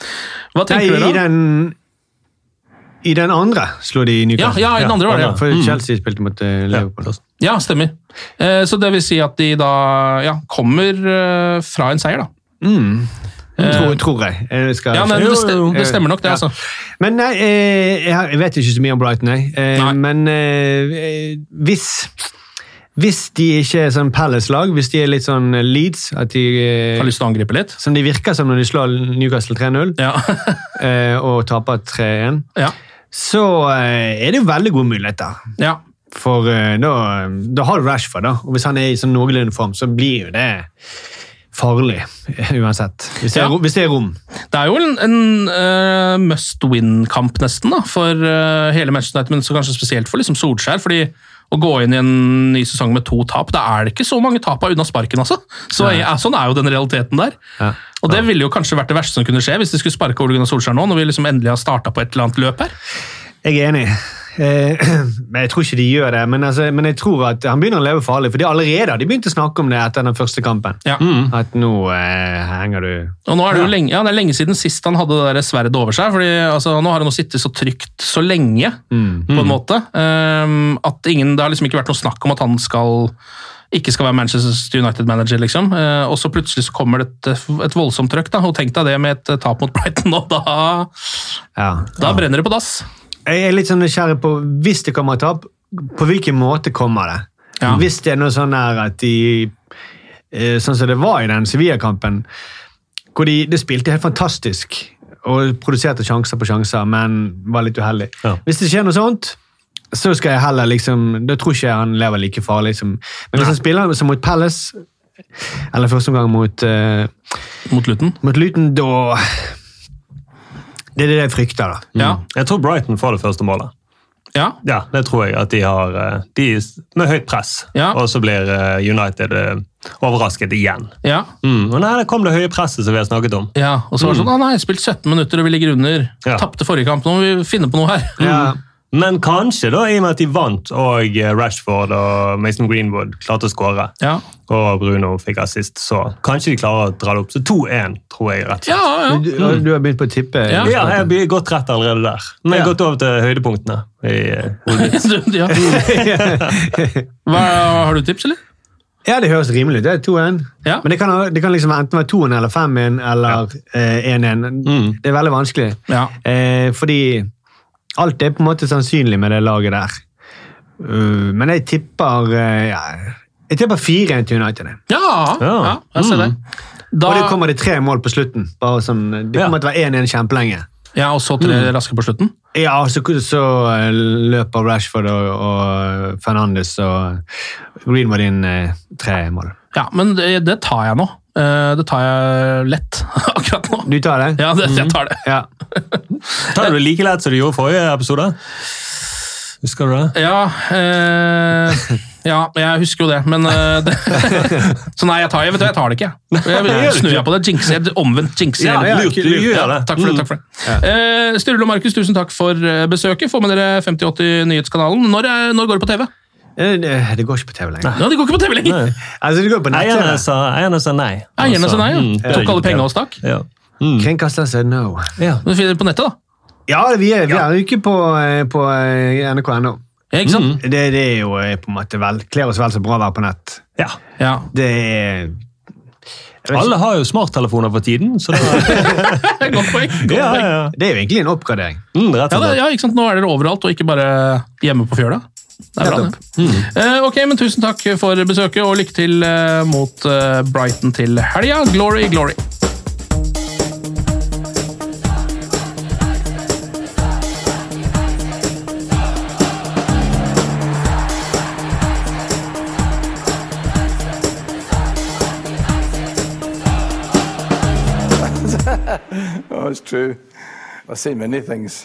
Speaker 2: Hva tenker
Speaker 3: Nei, i
Speaker 2: dere? da?
Speaker 3: den i den andre slo de
Speaker 2: Ja,
Speaker 3: Newcastle.
Speaker 2: ja, i den andre var det, ja. Mm.
Speaker 3: For Chelsea spilte mot eh, Liverpool.
Speaker 4: Ja.
Speaker 2: Ja, stemmer. Eh, så det vil si at de da ja, kommer eh, fra en seier, da.
Speaker 3: tror, tror jeg. jeg skal,
Speaker 2: Eh, Ja, men det, stem- det stemmer nok, det,
Speaker 3: Ja.
Speaker 2: altså.
Speaker 3: Men nei, eh, jeg har- jeg vet ikke så mye om Brighton, jeg. Eh,
Speaker 2: Nei.
Speaker 3: Men eh, eh, hvis hvis de ikke er sånn Palace-lag, hvis de er litt sånn Leeds at de,
Speaker 2: Jeg
Speaker 3: eh,
Speaker 2: har lyst til å angripe litt.
Speaker 3: Som de virker som når de slår Newcastle 3-0
Speaker 2: Ja.
Speaker 3: eh, og taper 3-1,
Speaker 2: ja.
Speaker 3: så eh, er det jo veldig gode muligheter.
Speaker 2: ja.
Speaker 3: For eh, da, da har du Rashford, da. Og hvis han er i sånn noenlunde form, så blir jo det farlig uansett. Hvis det er,
Speaker 2: Ja.
Speaker 3: ro- hvis det er rom.
Speaker 2: Det er jo en, en eh, must win-kamp nesten da, for eh, hele Manchester United, men så kanskje spesielt for liksom Solskjær. fordi å gå inn i en ny sesong med to tap, da er det ikke så mange tap av unna sparken. altså. Så eh, Sånn er jo den realiteten der.
Speaker 3: Ja.
Speaker 2: Og det ville jo kanskje vært det verste som kunne skje, hvis de skulle sparke Ole Gunnar Solskjær nå, når vi liksom endelig har starta på et eller annet løp her.
Speaker 3: Jeg er enig. Eh, men Jeg tror ikke de gjør det, men, altså, men jeg tror at han begynner å leve farlig. For de allerede har de begynt å snakke om det etter den første kampen.
Speaker 2: Ja.
Speaker 3: At nå eh, henger du
Speaker 2: Og nå er det jo lenge, ja, det er lenge siden sist han hadde det der sverdet over seg. fordi altså, Nå har han jo sittet så trygt så lenge, på en måte, ehm, at ingen, det har liksom ikke vært noe snakk om at han skal ikke skal være Manchester United-manager, liksom. Eh, og så plutselig så kommer det et, et voldsomt trøkk, da. Og tenk deg det med et tap mot Brighton, og da,
Speaker 3: Ja.
Speaker 2: da brenner det på dass.
Speaker 3: Jeg er litt sånn nysgjerrig på, hvis det kommer et tap, på hvilken måte kommer det?
Speaker 2: Ja.
Speaker 3: Hvis det er noe sånn her at de eh, Sånn som det var i den Sevilla-kampen, hvor de, de spilte helt fantastisk og produserte sjanser på sjanser, men var litt uheldig.
Speaker 4: Ja.
Speaker 3: Hvis det skjer noe sånt, så skal jeg heller liksom Da tror ikke jeg han lever like farlig som Men hvis han spiller som mot Palace, eller første omgang mot eh,
Speaker 2: Mot Luton.
Speaker 3: mot Luton, da Det er det jeg frykter, da.
Speaker 4: Mm.
Speaker 2: Ja.
Speaker 4: Jeg tror Brighton får det første målet.
Speaker 2: ja.
Speaker 4: Ja, det tror jeg at de har eh, de, Med høyt press.
Speaker 2: Ja.
Speaker 4: Og så blir eh, United eh, overrasket igjen.
Speaker 2: Ja.
Speaker 4: Mm. Og nei, det kom det høye presset som vi har snakket om.
Speaker 2: ja. Og så var det sånn Å nei, spilt 17 minutter, og vi ligger under.
Speaker 4: Ja.
Speaker 2: Tapte forrige kamp, nå må vi finne på noe her.
Speaker 3: Ja.
Speaker 4: Men kanskje, da, i og med at de vant, og eh, Rashford og Mason Greenwood klarte å skåre,
Speaker 2: Ja.
Speaker 4: og Bruno fikk assist, så kanskje de klarer å dra det opp. Så 2-1, tror jeg. rett og slett.
Speaker 2: Ja, ja.
Speaker 3: Du, og du har begynt på å tippe?
Speaker 2: Ja.
Speaker 4: Ja, jeg blir gått rett allerede der. Men jeg har gått over til høydepunktene. I, eh, hodet.
Speaker 2: ja. Hva, har du tips, eller?
Speaker 3: Ja, det høres rimelig ut. Det er 2-1.
Speaker 2: Ja.
Speaker 3: Men det kan, det kan liksom enten være 2-1 eller 5-1 eller eh, 1-1. Det er veldig vanskelig.
Speaker 2: Ja.
Speaker 3: Eh, fordi alt er på en måte sannsynlig med det laget der. Uh, men jeg tipper eh, ja, Jeg tipper 4-1 til United. jeg.
Speaker 2: Ja, ja. jeg ser det. Da,
Speaker 3: Mm. Og det kommer det tre mål på slutten. Bare sånn, det
Speaker 4: Ja.
Speaker 3: kommer til å være 1-1 kjempelenge.
Speaker 2: ja, og så tre raske på slutten.
Speaker 3: Ja, så, så eh, løper Rashford og, og Fernandes og Greenwood inn eh, tre mål.
Speaker 2: Ja, men det, det tar jeg nå. Eh, Det tar jeg lett akkurat nå.
Speaker 3: Du tar det?
Speaker 2: Ja, det, jeg tar det.
Speaker 3: Ja.
Speaker 4: Tar du det like lett som du gjorde forrige episode? Husker du det?
Speaker 2: Ja, eh, ja, jeg husker jo det, men eh, det, Så nei, jeg tar, jeg, vet du, jeg tar det ikke. jeg. Jeg, jeg snur jeg på det. Jinxer, jeg omvendt jinxer.
Speaker 4: Ja,
Speaker 2: hele
Speaker 4: lurt,
Speaker 3: kult,
Speaker 4: lurt,
Speaker 2: Ja,
Speaker 4: gjør det.
Speaker 2: takk for det. takk for det. Eh, Sturle og Markus, tusen takk for eh, besøket. Få med dere 5080 Nyhetskanalen. Når, er- når går det på TV?
Speaker 3: Eh, Det, det går ikke på TV lenger.
Speaker 2: Ja, det går ikke på TV lenger!
Speaker 3: Altså, det går på
Speaker 4: Eierne
Speaker 3: nett-TV.
Speaker 4: sa, eierne sa nei.
Speaker 2: Eierne
Speaker 4: Altså,
Speaker 2: sa nei, ja.
Speaker 4: mm, det er
Speaker 2: Tok alle
Speaker 4: ikke
Speaker 2: penga
Speaker 4: det.
Speaker 2: og stakk.
Speaker 4: Ja.
Speaker 3: Kringkaster sier no.
Speaker 2: Men finner det på nettet, da.
Speaker 3: Ja, vi er, vi er jo ikke på, eh, på eh, NRK.no.
Speaker 2: Ja, ikke sant?
Speaker 3: Det,
Speaker 4: Mm.
Speaker 3: det er jo eh, på en måte vel, kler oss vel så bra å være på nett.
Speaker 4: Ja.
Speaker 2: Ja.
Speaker 3: Det er
Speaker 5: Jeg vet ikke.
Speaker 4: Alle har jo smarttelefoner for tiden, så det er,
Speaker 2: Godt poeng. Godt
Speaker 4: ja,
Speaker 2: poeng.
Speaker 4: ja, ja.
Speaker 5: Det er jo egentlig en oppgradering.
Speaker 4: Mm, rett
Speaker 2: Ja,
Speaker 4: og
Speaker 2: det,
Speaker 4: slett.
Speaker 2: ja, ikke sant? Nå er dere overalt, og ikke bare hjemme på fjøla. Det er bra,
Speaker 5: Nettopp.
Speaker 2: det.
Speaker 4: Mm.
Speaker 2: Eh, ok, men Tusen takk for besøket, og lykke til eh, mot eh, Brighton til helga. Glory, glory.
Speaker 6: Oh, it's true. I've seen many things.